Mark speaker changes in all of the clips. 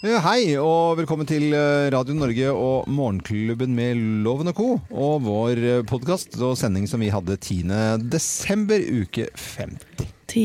Speaker 1: Eh, Hei, og velkommen til eh, Radio Norge og Morgenklubben med Loven og Co. Og vår podkast og sending som vi hadde 10. desember, uke 50.
Speaker 2: 10.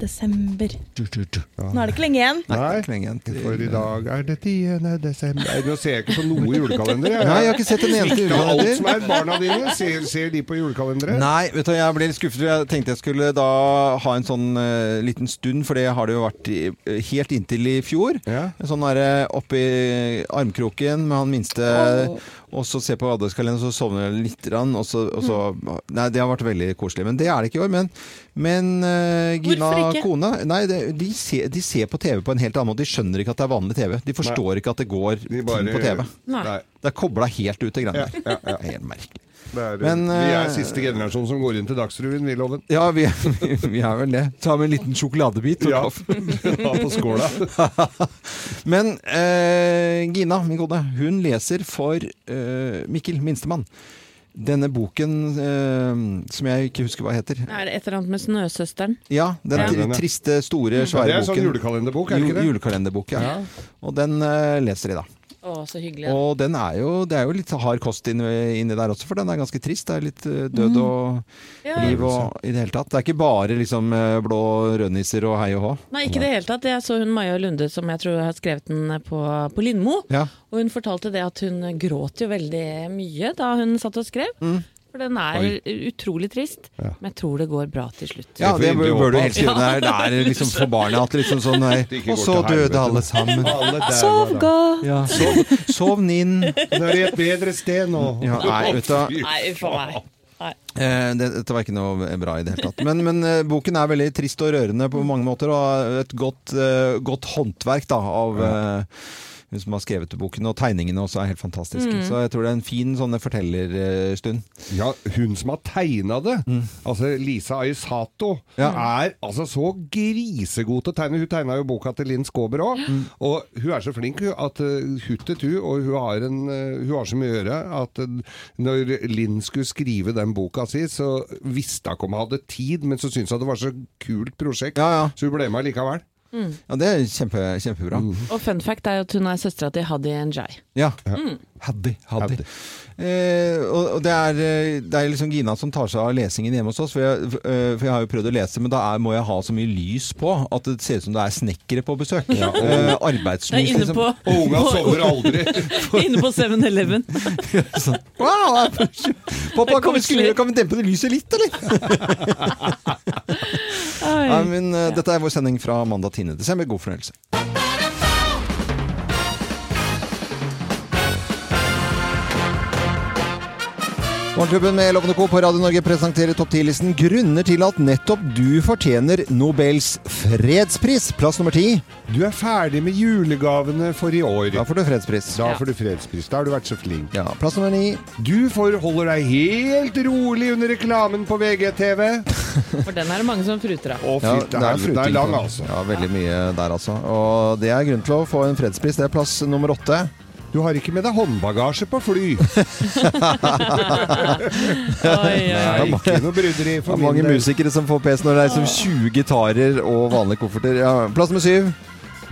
Speaker 2: desember. Nå er det ikke lenge igjen.
Speaker 1: Nei,
Speaker 3: Nei.
Speaker 1: det er ikke lenge igjen til-
Speaker 3: For i dag er det 10. desember Nei, Nå ser jeg ikke på noe julekalender. Jeg.
Speaker 1: Nei, jeg har ikke sett en eneste
Speaker 3: Ikke alt som
Speaker 1: julekalender.
Speaker 3: er barna dine, ser, ser de på julekalendere?
Speaker 1: Nei, vet du, jeg ble litt skuffet. for Jeg tenkte jeg skulle da ha en sånn eh, liten stund, for det har det jo vært i, eh, helt inntil i fjor.
Speaker 3: Ja.
Speaker 1: Sånn derre oppi armkroken med han minste,
Speaker 2: Åh.
Speaker 1: og så se på adventskalenderen, så sovner jeg litt. Rann, og så, og så,
Speaker 2: Mm.
Speaker 1: nei, det har vært veldig koselig. Men det er det ikke i år. Men, men eh, Gina
Speaker 2: Hvorfor ikke?
Speaker 1: kona nei, det, de, ser, de ser på TV på en helt annen måte. De skjønner ikke at det er vanlig TV. De forstår ikke at det går
Speaker 3: De bare-
Speaker 1: ting på TV.
Speaker 2: Nei.
Speaker 3: Nei.
Speaker 1: Det er kobla helt ut, det greiene
Speaker 3: Ja,
Speaker 1: der.
Speaker 3: ja,
Speaker 1: Det
Speaker 3: ja.
Speaker 1: er Helt merkelig.
Speaker 3: Det er,
Speaker 1: Men,
Speaker 3: vi
Speaker 1: eh,
Speaker 3: er siste generasjon som går inn til Dagsrevyen, vi, Loven.
Speaker 1: Ja, vi, vi er vel det. Ta med en liten sjokoladebit. og
Speaker 3: Ja.
Speaker 1: kaffe.
Speaker 3: ja, på skåla.
Speaker 1: Men eh, Gina, min kone, hun leser for eh, Mikkel, minstemann. Denne boken eh, som jeg ikke husker hva heter.
Speaker 4: Er det et eller annet med Snøsøsteren?
Speaker 1: Ja, den
Speaker 3: Ja.
Speaker 1: tri- triste, store,
Speaker 3: Det
Speaker 1: svære
Speaker 3: er sånn
Speaker 1: boken.
Speaker 3: julekalenderbok, er det
Speaker 1: Ju-
Speaker 3: ikke det?
Speaker 1: Julekalenderbok, ja. Og den eh, leser de, da.
Speaker 4: Å, så hyggelig.
Speaker 1: Og den er jo, det er jo litt hard kost inni, inni der også, for den er ganske trist. Det er litt eh, død og
Speaker 4: Ja,
Speaker 1: liv og i det hele tatt. Det er ikke bare liksom eh, blå rødnisser og hei og hå.
Speaker 4: Nei, ikke i det hele tatt. Jeg så hun Maja Lunde, som jeg tror har skrevet den på, på Lindmo.
Speaker 1: Ja.
Speaker 4: Og hun fortalte det at hun gråt jo veldig mye da hun satt og skrev.
Speaker 1: Mm.
Speaker 4: For den er utrolig trist. Men jeg tror det går bra til slutt.
Speaker 1: Ja,
Speaker 3: Det
Speaker 1: det bør,
Speaker 3: får inderlig
Speaker 1: bør du
Speaker 3: håpe,
Speaker 1: helst gjøre. Det er- Det er liksom for barna at liksom sånn nei.
Speaker 3: Det ikke
Speaker 1: Og
Speaker 3: går
Speaker 1: så
Speaker 3: til helvete.
Speaker 1: døde alle sammen.
Speaker 3: Alle dauer,
Speaker 4: Sov
Speaker 3: da.
Speaker 4: godt!
Speaker 1: Ja, sov, sov inn.
Speaker 3: Nå er det et bedre sted nå.
Speaker 1: Ja, nei, vet du,
Speaker 4: Nei, uff a meg. Nei.
Speaker 1: eh, det- dette var ikke noe bra i det hele tatt. Men, men eh, boken er veldig trist og rørende på mange måter, og et godt, eh, godt håndverk da, av eh, hun som har skrevet boken. Og tegningene også er helt fantastiske. Så jeg tror det er en fin sånn fortellerstund.
Speaker 3: Ja, hun som har tegna det, altså Lisa Aisato, er altså så grisegod til å tegne. Hun tegna jo boka til Linn Skåber òg, og hun er så flink hun, at uh, huttet hun, og hun har, en, uh, hun har så mye å gjøre at uh, når Linn skulle skrive den boka si, så visste hun ikke om hun hadde tid, men så syntes hun det var så kult prosjekt,
Speaker 1: Ja, ja.
Speaker 3: så hun ble med likevel.
Speaker 1: ja, det er kjempe, kjempebra.
Speaker 4: Og fun fact er jo at hun er søstera til Hadi Njai.
Speaker 1: Ja.
Speaker 4: Mm.
Speaker 1: Haddy. Haddy.
Speaker 3: Haddy.
Speaker 1: Eh, og og det, er, eh, det er liksom Gina som tar seg av lesingen hjemme hos oss. For jeg, f- eh, for jeg har jo prøvd å lese, men da er, må jeg ha så mye lys på at det ser ut som det er snekkere på besøk. eh,
Speaker 4: Det
Speaker 1: arbeidslys,
Speaker 4: er inne
Speaker 1: liksom.
Speaker 4: på,
Speaker 3: Og unga sover aldri!
Speaker 4: inne på 7-Eleven.
Speaker 1: Sånn. Wow, det er for- Pappa, kan vi, skru,
Speaker 4: koselig.
Speaker 1: kan vi dempe det lyset litt, eller? Nei,
Speaker 4: Oi.
Speaker 1: men, eh, Dette er vår sending fra mandag 10. desember. God fornøyelse. Morgenklubben med Lovende Co. på Radio Norge presenterer topp 10-listen grunner til at nettopp du fortjener Nobels fredspris. Plass nummer ti.
Speaker 3: Du er ferdig med julegavene for i år.
Speaker 1: Da får du fredspris.
Speaker 3: Da får du fredspris. Da har du vært så flink.
Speaker 1: Ja, plass nummer ni.
Speaker 3: Du forholder deg helt rolig under reklamen på VGTV.
Speaker 4: For den er det mange som fruter av.
Speaker 3: Å, fy
Speaker 1: Ja,
Speaker 3: til helvete. Det er lang, altså.
Speaker 1: Ja, veldig mye der, altså. Og det er grunn til å få en fredspris. Det er plass nummer åtte.
Speaker 3: Du har ikke med deg håndbagasje på fly.
Speaker 4: Oi, oi,
Speaker 3: Det
Speaker 4: oi.
Speaker 3: er ikke noe bryderi
Speaker 1: Det
Speaker 3: for
Speaker 1: er mange
Speaker 3: min del.
Speaker 1: musikere som får pes når det er som 20 gitarer og vanlige kofferter. Ja, plass nummer syv.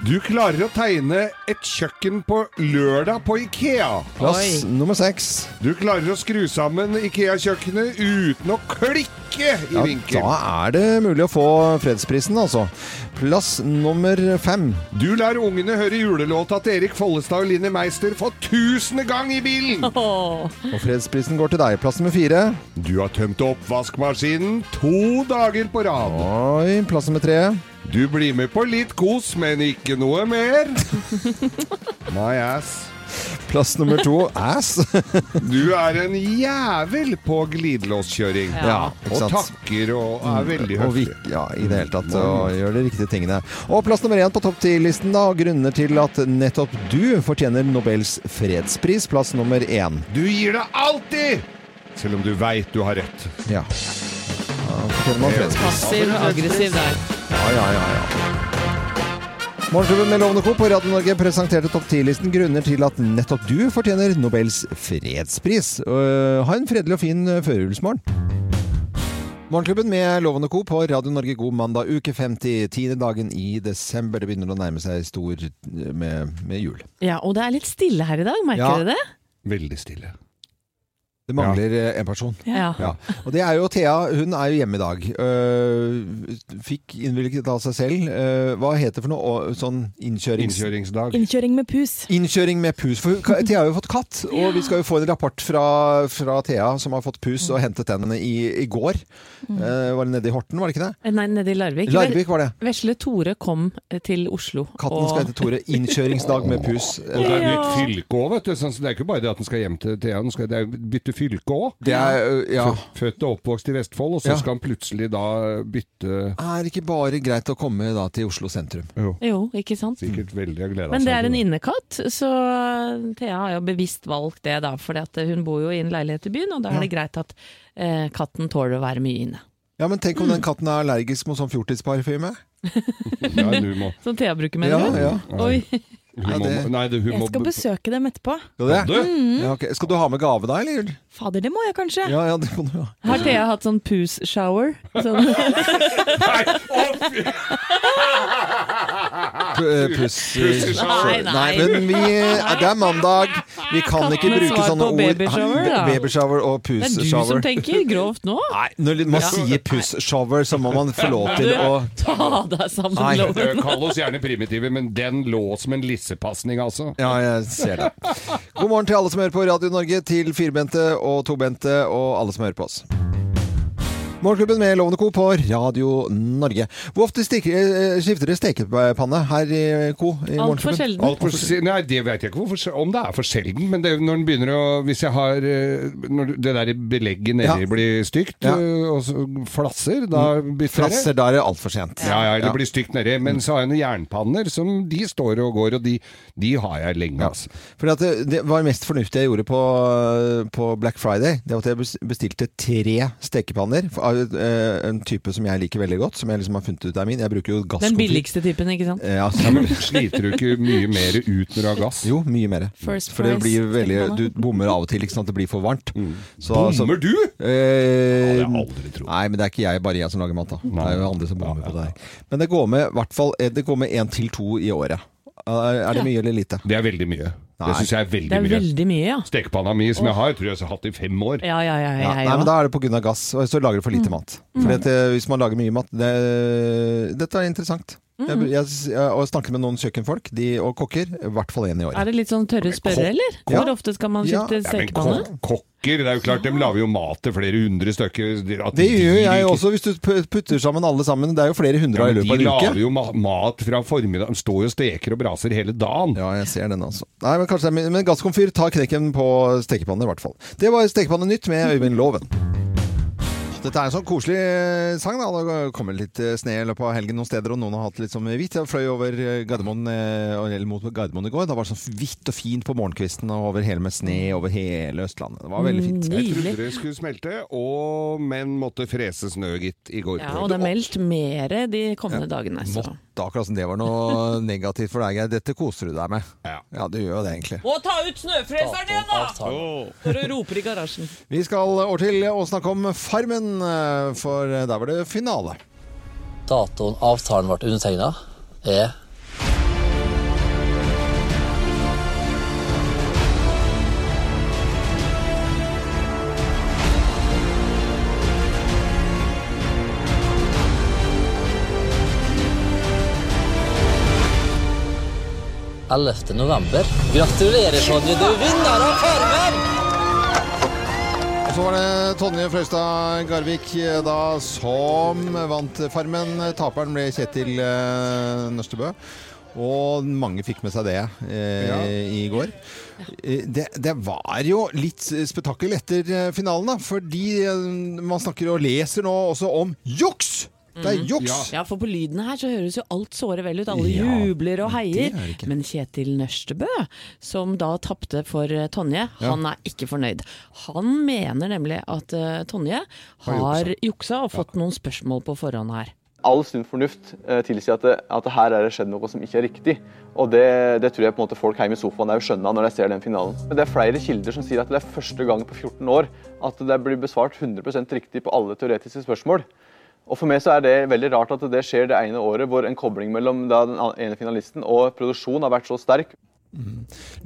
Speaker 3: Du klarer å tegne et kjøkken på lørdag på Ikea.
Speaker 1: Plass
Speaker 4: Oi.
Speaker 1: nummer seks.
Speaker 3: Du klarer å skru sammen Ikea-kjøkkenet uten å klikke i
Speaker 1: Ja, da
Speaker 3: vinkel.
Speaker 1: er det mulig å få fredsprisen, altså. Plass nummer fem.
Speaker 3: Du lar ungene høre julelåta til Erik Follestad og Linni Meister for tusende gang i bilen.
Speaker 4: Åh.
Speaker 1: Og fredsprisen går til deg. Plass nummer fire.
Speaker 3: Du har tømt oppvaskmaskinen to dager på rad.
Speaker 1: Oi, plass nummer tre.
Speaker 3: Du blir med på litt kos, men ikke noe mer. My ass.
Speaker 1: Plass nummer to. Ass.
Speaker 3: Du er en jævel på glidelåskjøring.
Speaker 4: Ja,
Speaker 1: ikke
Speaker 3: og
Speaker 1: sant. Mm,
Speaker 3: takker og er veldig
Speaker 1: Og vi,
Speaker 3: høflig.
Speaker 1: ja, i det hele tatt. Og gjør de riktige tingene. Og plass nummer én på topp ti-listen, da. og Grunner til at nettopp du fortjener Nobels fredspris. Plass nummer én.
Speaker 3: Du gir deg alltid! Selv om du veit du har rett.
Speaker 1: Ja. Da fortjener man fredspris.
Speaker 4: Passiv aggressiv der.
Speaker 1: Ja, ja, ja, ja. Morgenklubben med Lovende Co. på Radio Norge presenterte topp 10-listen grunner til at nettopp du fortjener Nobels fredspris. Øh, ha en fredelig og fin øh, førjulsmorgen. Morgenklubben med Lovende Co. på Radio Norge god mandag uke 50, tiende dagen i desember. Det begynner å nærme seg stor øh, med, med jul.
Speaker 4: Ja, og det er litt stille her i dag, merker
Speaker 1: Ja.
Speaker 4: dere det?
Speaker 3: Veldig stille.
Speaker 1: Det mangler eh, en person.
Speaker 4: Ja.
Speaker 1: Ja. Og det er jo Thea. Hun er jo hjemme i dag. Øh, fikk innvilget av seg selv. øh, hva heter det for noe Å, sånn innkjørings...
Speaker 3: Innkjøringsdag.
Speaker 2: Innkjøring med pus.
Speaker 1: Innkjøring med pus. For hun- Thea har jo fått katt, og vi skal jo få en rapport fra, fra Thea som har fått pus og hentet den i, i går.
Speaker 5: Mm.
Speaker 1: Eh, var det nede i Horten, var det ikke det?
Speaker 4: Eh, Nei, nede i Larvik.
Speaker 1: Larvik var det.
Speaker 4: Ve- Vesle Tore kom eh, til Oslo.
Speaker 1: Katten skal hete Tore. Innkjøringsdag med pus.
Speaker 3: Og det er
Speaker 2: Ja.
Speaker 3: nytt fylke òg, vet du. Sånn, så det er ikke bare det at den skal hjem til Thea, den skal det er jo bytte fylke òg.
Speaker 1: Det er øh, Ja.
Speaker 3: Født og oppvokst i Vestfold, og
Speaker 1: Ja.
Speaker 3: så skal han plutselig da bytte
Speaker 1: Er det ikke bare greit å komme da til Oslo sentrum?
Speaker 4: Jo, ikke sant?
Speaker 3: Sikkert veldig har gleda seg.
Speaker 4: Men det er
Speaker 3: til
Speaker 4: en innekatt, så eh, Thea har jo bevisst valgt det, da. For hun bor jo i en leilighet i byen, og da er det greit at eh, katten tåler å være mye inne.
Speaker 1: Ja, men tenk om den katten er allergisk mot sånn fjortisparfyme?
Speaker 3: Ja, du må,
Speaker 4: Som Thea bruker,
Speaker 1: Ja,
Speaker 4: mener du?
Speaker 1: ja.
Speaker 4: Oi.
Speaker 3: hun
Speaker 1: Ja,
Speaker 3: må,
Speaker 1: det-
Speaker 3: nei, det, hun
Speaker 2: Jeg
Speaker 3: må
Speaker 2: skal besøke dem etterpå.
Speaker 1: Skal, det?
Speaker 3: Skal du?
Speaker 1: Ja, ok. skal du ha med gave da, eller?
Speaker 2: Fader, det må jeg kanskje.
Speaker 1: Ja, ja, det må du ha.
Speaker 4: Har Thea hatt sånn pus-shower? Sånn,
Speaker 3: Nei! å, fy-
Speaker 1: eh, Puss.
Speaker 4: Nei, nei.
Speaker 1: Nei, men vi, eh, det er mandag. Vi kan ikke
Speaker 4: Kattene
Speaker 1: bruke
Speaker 4: svar
Speaker 1: sånne
Speaker 4: på
Speaker 1: ord.
Speaker 4: babyshower, da.
Speaker 1: Babyshower og
Speaker 4: det er du som
Speaker 1: pusshower.
Speaker 4: tenker grovt nå.
Speaker 1: Nei, når man sier pusshower, så må man få lov til å
Speaker 4: Ta deg sammen,
Speaker 1: Nei.
Speaker 4: Loven.
Speaker 3: Kall oss gjerne primitive, men den lå som en lissepasning, altså.
Speaker 1: Ja, jeg ser det. God morgen til alle som hører på Radio Norge, til firbente og tobente og alle som hører på oss. Morgenklubben med Lovende Co. på Radio Norge. Hvor ofte stikker, eh, skifter dere stekepanne her i Co? i
Speaker 4: Altfor
Speaker 1: Morgenklubben?
Speaker 4: sjelden.
Speaker 3: Alt for, se- nei, det vet jeg ikke hvor, for- om det er for sjelden, men det, er jo når den begynner å Hvis jeg har eh, Når det der belegget nedi
Speaker 1: Ja.
Speaker 3: blir stygt,
Speaker 1: Ja. Mm.
Speaker 3: eh, og så flasser, da bytter jeg.
Speaker 1: Frasser, da er det altfor sent.
Speaker 3: Ja, ja, det blir stygt nedi. Men så har jeg noen jernpanner som de står og går, og de, de har jeg lenge, altså.
Speaker 1: Fordi at det, det var det mest fornuftige jeg gjorde på, på Black Friday. Det var at jeg bes- bestilte tre stekepanner for- av eh, en type som jeg liker veldig godt. Som jeg liksom har funnet ut er min. Jeg bruker jo gasskonfit.
Speaker 4: Den billigste typen, ikke sant?
Speaker 1: Ja,
Speaker 3: Ja,
Speaker 1: så,
Speaker 3: men sliter du ikke mye mer ut når du har gass?
Speaker 1: jo, mye mer.
Speaker 2: First
Speaker 1: For det
Speaker 2: price
Speaker 1: blir veldig, du
Speaker 2: stekepanne.
Speaker 1: bommer av og til, ikke sant. Det blir for varmt. Så,
Speaker 3: Mm. Bommer du?
Speaker 1: altså- Eh,
Speaker 3: Ja, det har jeg aldri trodd.
Speaker 1: Nei, men det er ikke jeg, bare jeg som lager mat, da. Det er jo andre som bommer
Speaker 3: Ja, ja,
Speaker 1: på det her. Men det går med i hvert fall eh, Det går med én til to i året. Eh, Er er det mye eller lite?
Speaker 3: Det er veldig mye.
Speaker 1: Nei.
Speaker 3: Det syns jeg er
Speaker 4: Det
Speaker 3: veldig
Speaker 4: er
Speaker 3: mye.
Speaker 4: veldig mye, ja.
Speaker 3: Stekepanna mi som jeg har, tror jeg jeg har hatt i fem år.
Speaker 4: Ja, ja, ja.
Speaker 1: Ja,
Speaker 4: ja,
Speaker 1: nei,
Speaker 4: ja.
Speaker 1: men Da er det pga. gass, og så lager du for
Speaker 4: Mm.
Speaker 1: lite mat. For at, eh, hvis man lager mye mat det, Dette er interessant.
Speaker 4: Mm.
Speaker 1: Jeg, jeg, jeg, og snakker med noen kjøkkenfolk de, og kokker, i hvert fall én i
Speaker 4: Er
Speaker 1: året.
Speaker 4: det litt sånn tørre spørre, eller?
Speaker 1: Ja.
Speaker 4: Hvor ofte skal man
Speaker 1: Ja.
Speaker 4: skifte
Speaker 3: Ja, men
Speaker 4: stekepanne?
Speaker 3: kok kokker, det er jo klart, de lager jo mat til flere hundre stykker. At
Speaker 1: Det gjør
Speaker 3: de-
Speaker 1: jeg også, hvis du pu- putter sammen alle sammen. Det er jo flere
Speaker 3: Ja,
Speaker 1: hundre i
Speaker 3: men de
Speaker 1: løpet av en
Speaker 3: lager
Speaker 1: uke.
Speaker 3: jo ma mat fra formiddagen. De står jo og steker og braser hele dagen.
Speaker 1: Ja, jeg ser den, altså. Nei, Men kanskje det er min- Men gasskomfyr tar knekken på stekepanner, i hvert fall. Det var Stekepanne nytt med Øyvind Loven. Dette er en sånn koselig eh, sang. da Det kommer litt eh, sne i løpet av helgen noen steder, og noen har hatt litt sånn hvitt. Jeg fløy over eh, Gardermoen, eh, eller mot Gardermoen i går. Da var det sånn hvitt og fint på morgenkvisten og over hele med sne over hele Østlandet. Det var veldig fint.
Speaker 3: Jeg trodde
Speaker 4: Nydelig.
Speaker 3: det skulle smelte, og, men måtte frese snø, gitt, i går.
Speaker 4: Ja, og det er meldt mere de kommende dagene. Så.
Speaker 1: Måtte akkurat som det var noe negativt for deg, Geir. Dette koser du deg med.
Speaker 3: Ja.
Speaker 1: Ja, du gjør jo det, egentlig.
Speaker 4: Må ta ut snøfreseren igjen, da! Når du roper i garasjen.
Speaker 1: Vi skal over til å snakke om Farmen, eh, for der var det finale.
Speaker 6: Datoen avtalen ble undertegna, er Ellevte november. Gratulerer, Sonje. Du er vinner av Farmen!
Speaker 1: Og så var det Tonje Frøystad Garvik eh, da som vant Farmen. Taperen ble Kjetil eh, Nøstebø. Og mange fikk med seg det eh,
Speaker 3: Ja.
Speaker 1: i går. Eh, Det, det var jo litt spetakkel etter eh, finalen, da. Fordi eh, man snakker og leser nå også om juks! Det er juks!
Speaker 4: Ja, for på lydene her så høres jo alt såre vel ut. Alle
Speaker 1: Ja,
Speaker 4: jubler og heier.
Speaker 1: det er det ikke.
Speaker 4: Men Kjetil Nørstebø, som da tapte for eh, Tonje, han er ikke fornøyd. Han mener nemlig at eh, Tonje har juksa og fått noen spørsmål på forhånd her.
Speaker 7: all sunn fornuft eh, tilsier at, det, at det her er det skjedd noe som ikke er riktig. Og det, det tror jeg på en måte folk hjemme i sofaen er jo skjønna når de ser den finalen. Men det er flere kilder som sier at det er første gang på 14 år at det blir besvart 100 riktig på alle teoretiske spørsmål. Og For meg så er det veldig rart at det skjer det ene året hvor en kobling mellom da den ene finalisten og produksjon har vært så sterk.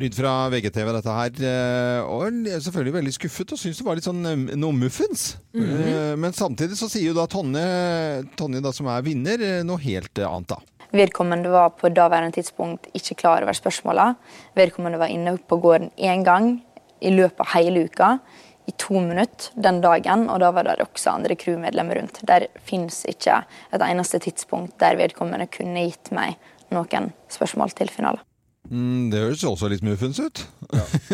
Speaker 1: Lyd fra VGTV, dette her. eh, Og er selvfølgelig veldig skuffet og syns det var litt sånn eh, noe muffens.
Speaker 4: Mhm.
Speaker 1: Eh, Men samtidig så sier jo da Tonje, Tonje da, som er vinner, eh, noe helt eh, annet, da.
Speaker 8: Vedkommende var på daværende tidspunkt ikke klar over spørsmåla. Vedkommende var inne på gården én gang i løpet av hele uka i to minutter den dagen, og da var det også andre crewmedlemmer rundt. Der fins ikke et eneste tidspunkt der vedkommende kunne gitt meg noen spørsmål til finalen.
Speaker 1: Mm, det høres jo også litt muffens ut.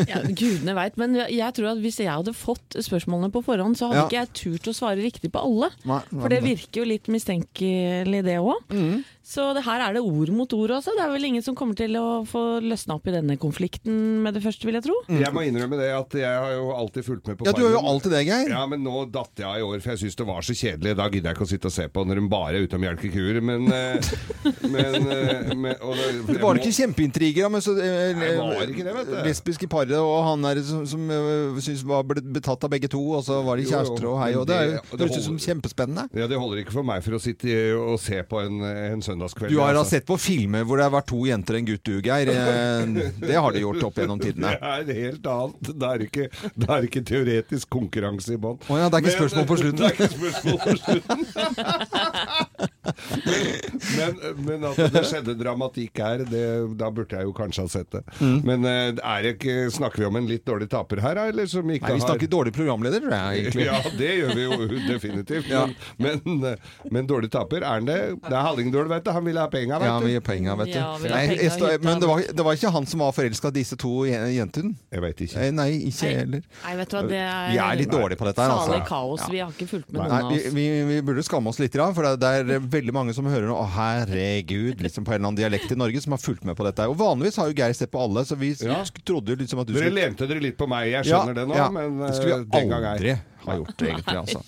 Speaker 4: Ja, gudene veit, men jeg- jeg tror at hvis jeg hadde fått spørsmålene på forhånd, så hadde
Speaker 1: Ja.
Speaker 4: ikke jeg turt å svare riktig på alle.
Speaker 1: Nei,
Speaker 4: For det virker jo litt mistenkelig, det òg.
Speaker 1: Mm.
Speaker 4: Så det her er det ord mot ord også. Det er vel ingen som kommer til å få løsna opp i denne konflikten med det første, vil jeg tro.
Speaker 3: Jeg må innrømme det at jeg har jo alltid fulgt med på
Speaker 1: Mm. Ja, du har jo
Speaker 3: Farmen.
Speaker 1: alltid det, Geir.
Speaker 3: Ja, men nå datt jeg av i år, for jeg syns det var så kjedelig. Da gidder jeg ikke å sitte og se på når de bare er ute og mjelker kuer. Men, eh, men, eh, men og det,
Speaker 1: Det var ikke kjempeintriger, da, men så, eh,
Speaker 3: Nei, det var ikke det, vet du.
Speaker 1: lesbiske paret og han der som, som eh, syntes var blitt betatt av begge to, og så var de
Speaker 3: Jo, jo,
Speaker 1: kjærester og hei, og det, er jo-
Speaker 3: men det-
Speaker 1: det høres ut som kjempespennende.
Speaker 3: Ja, Det holder ikke for meg for å sitte og se på en, en søndagskveld.
Speaker 1: Du har da
Speaker 3: altså.
Speaker 1: sett på filmer hvor det har vært to jenter og en gutt, du, Geir. Eh, Det har de gjort opp gjennom tidene.
Speaker 3: Det er helt annet. Det er ikke, det er ikke teoretisk konkurranse i bånn.
Speaker 1: Å ja, det er ikke
Speaker 3: Men-
Speaker 1: spørsmål på slutten.
Speaker 3: Det er ikke spørsmål på slutten. men, men, men at det skjedde dramatikk her, det, da burde jeg jo kanskje ha sett det.
Speaker 1: Mm.
Speaker 3: Men eh, er det ikke, snakker vi om en litt dårlig taper her, da, eller som ikke
Speaker 1: Nei, vi
Speaker 3: har
Speaker 1: snakker dårlig programleder, tror jeg, egentlig.
Speaker 3: ja, det gjør vi jo definitivt. Men, men, eh, men dårlig taper er han det. Det er Hallingdøl, vet du. Han ville ha penga,
Speaker 1: Ja,
Speaker 3: vet du.
Speaker 1: vi gir penger, vet du.
Speaker 4: Ja, vi gir
Speaker 1: Nei,
Speaker 4: penger,
Speaker 1: jeg står-
Speaker 4: hytta.
Speaker 1: men det var, det var ikke han som var forelska i disse to je- jentene?
Speaker 3: Jeg veit ikke.
Speaker 1: Eh, Nei, ikke jeg heller.
Speaker 4: Nei, vet du hva, det er
Speaker 1: Vi er litt dårlige på dette her,
Speaker 4: Salig
Speaker 1: altså.
Speaker 4: kaos.
Speaker 1: Ja.
Speaker 4: Vi har ikke fulgt med
Speaker 1: Nei,
Speaker 4: noen av
Speaker 1: vi,
Speaker 4: oss.
Speaker 1: vi, vi burde skamme oss litt, grann, for det er, det er veldig mange som hører nå, å herregud, liksom på en eller annen dialekt i Norge, som har fulgt med på dette. Og vanligvis har jo Geir sett på alle, så vi
Speaker 3: Ja.
Speaker 1: sk- trodde jo liksom at du
Speaker 3: Dere lente dere litt på meg, jeg skjønner det nå, men eh,
Speaker 1: det skulle vi
Speaker 3: den gang
Speaker 1: aldri
Speaker 3: er
Speaker 1: ha gjort, egentlig. Altså.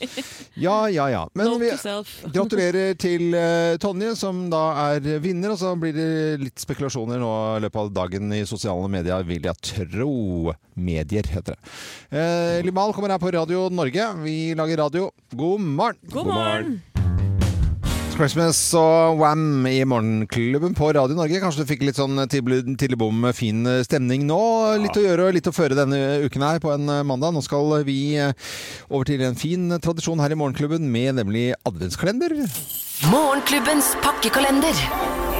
Speaker 1: Ja, ja, ja. Men
Speaker 4: Note
Speaker 1: vi
Speaker 4: to self.
Speaker 1: gratulerer til eh, Tonje, som da er vinner. Og så blir det litt spekulasjoner nå i løpet av dagen i sosiale medier, vil jeg tro. Medier, heter det. Eh, Limal kommer her på Radio Norge. Vi lager radio. God morgen!
Speaker 4: God morgen!
Speaker 1: Christmas og Wham i Morgenklubben på Radio Norge. Kanskje du fikk litt sånn tidlig tidlig bom med fin stemning nå. Litt å gjøre og litt å føre denne uken her på en mandag. Nå skal vi eh, over til en fin tradisjon her i Morgenklubben med nemlig adventskalender.
Speaker 9: Morgenklubbens pakkekalender.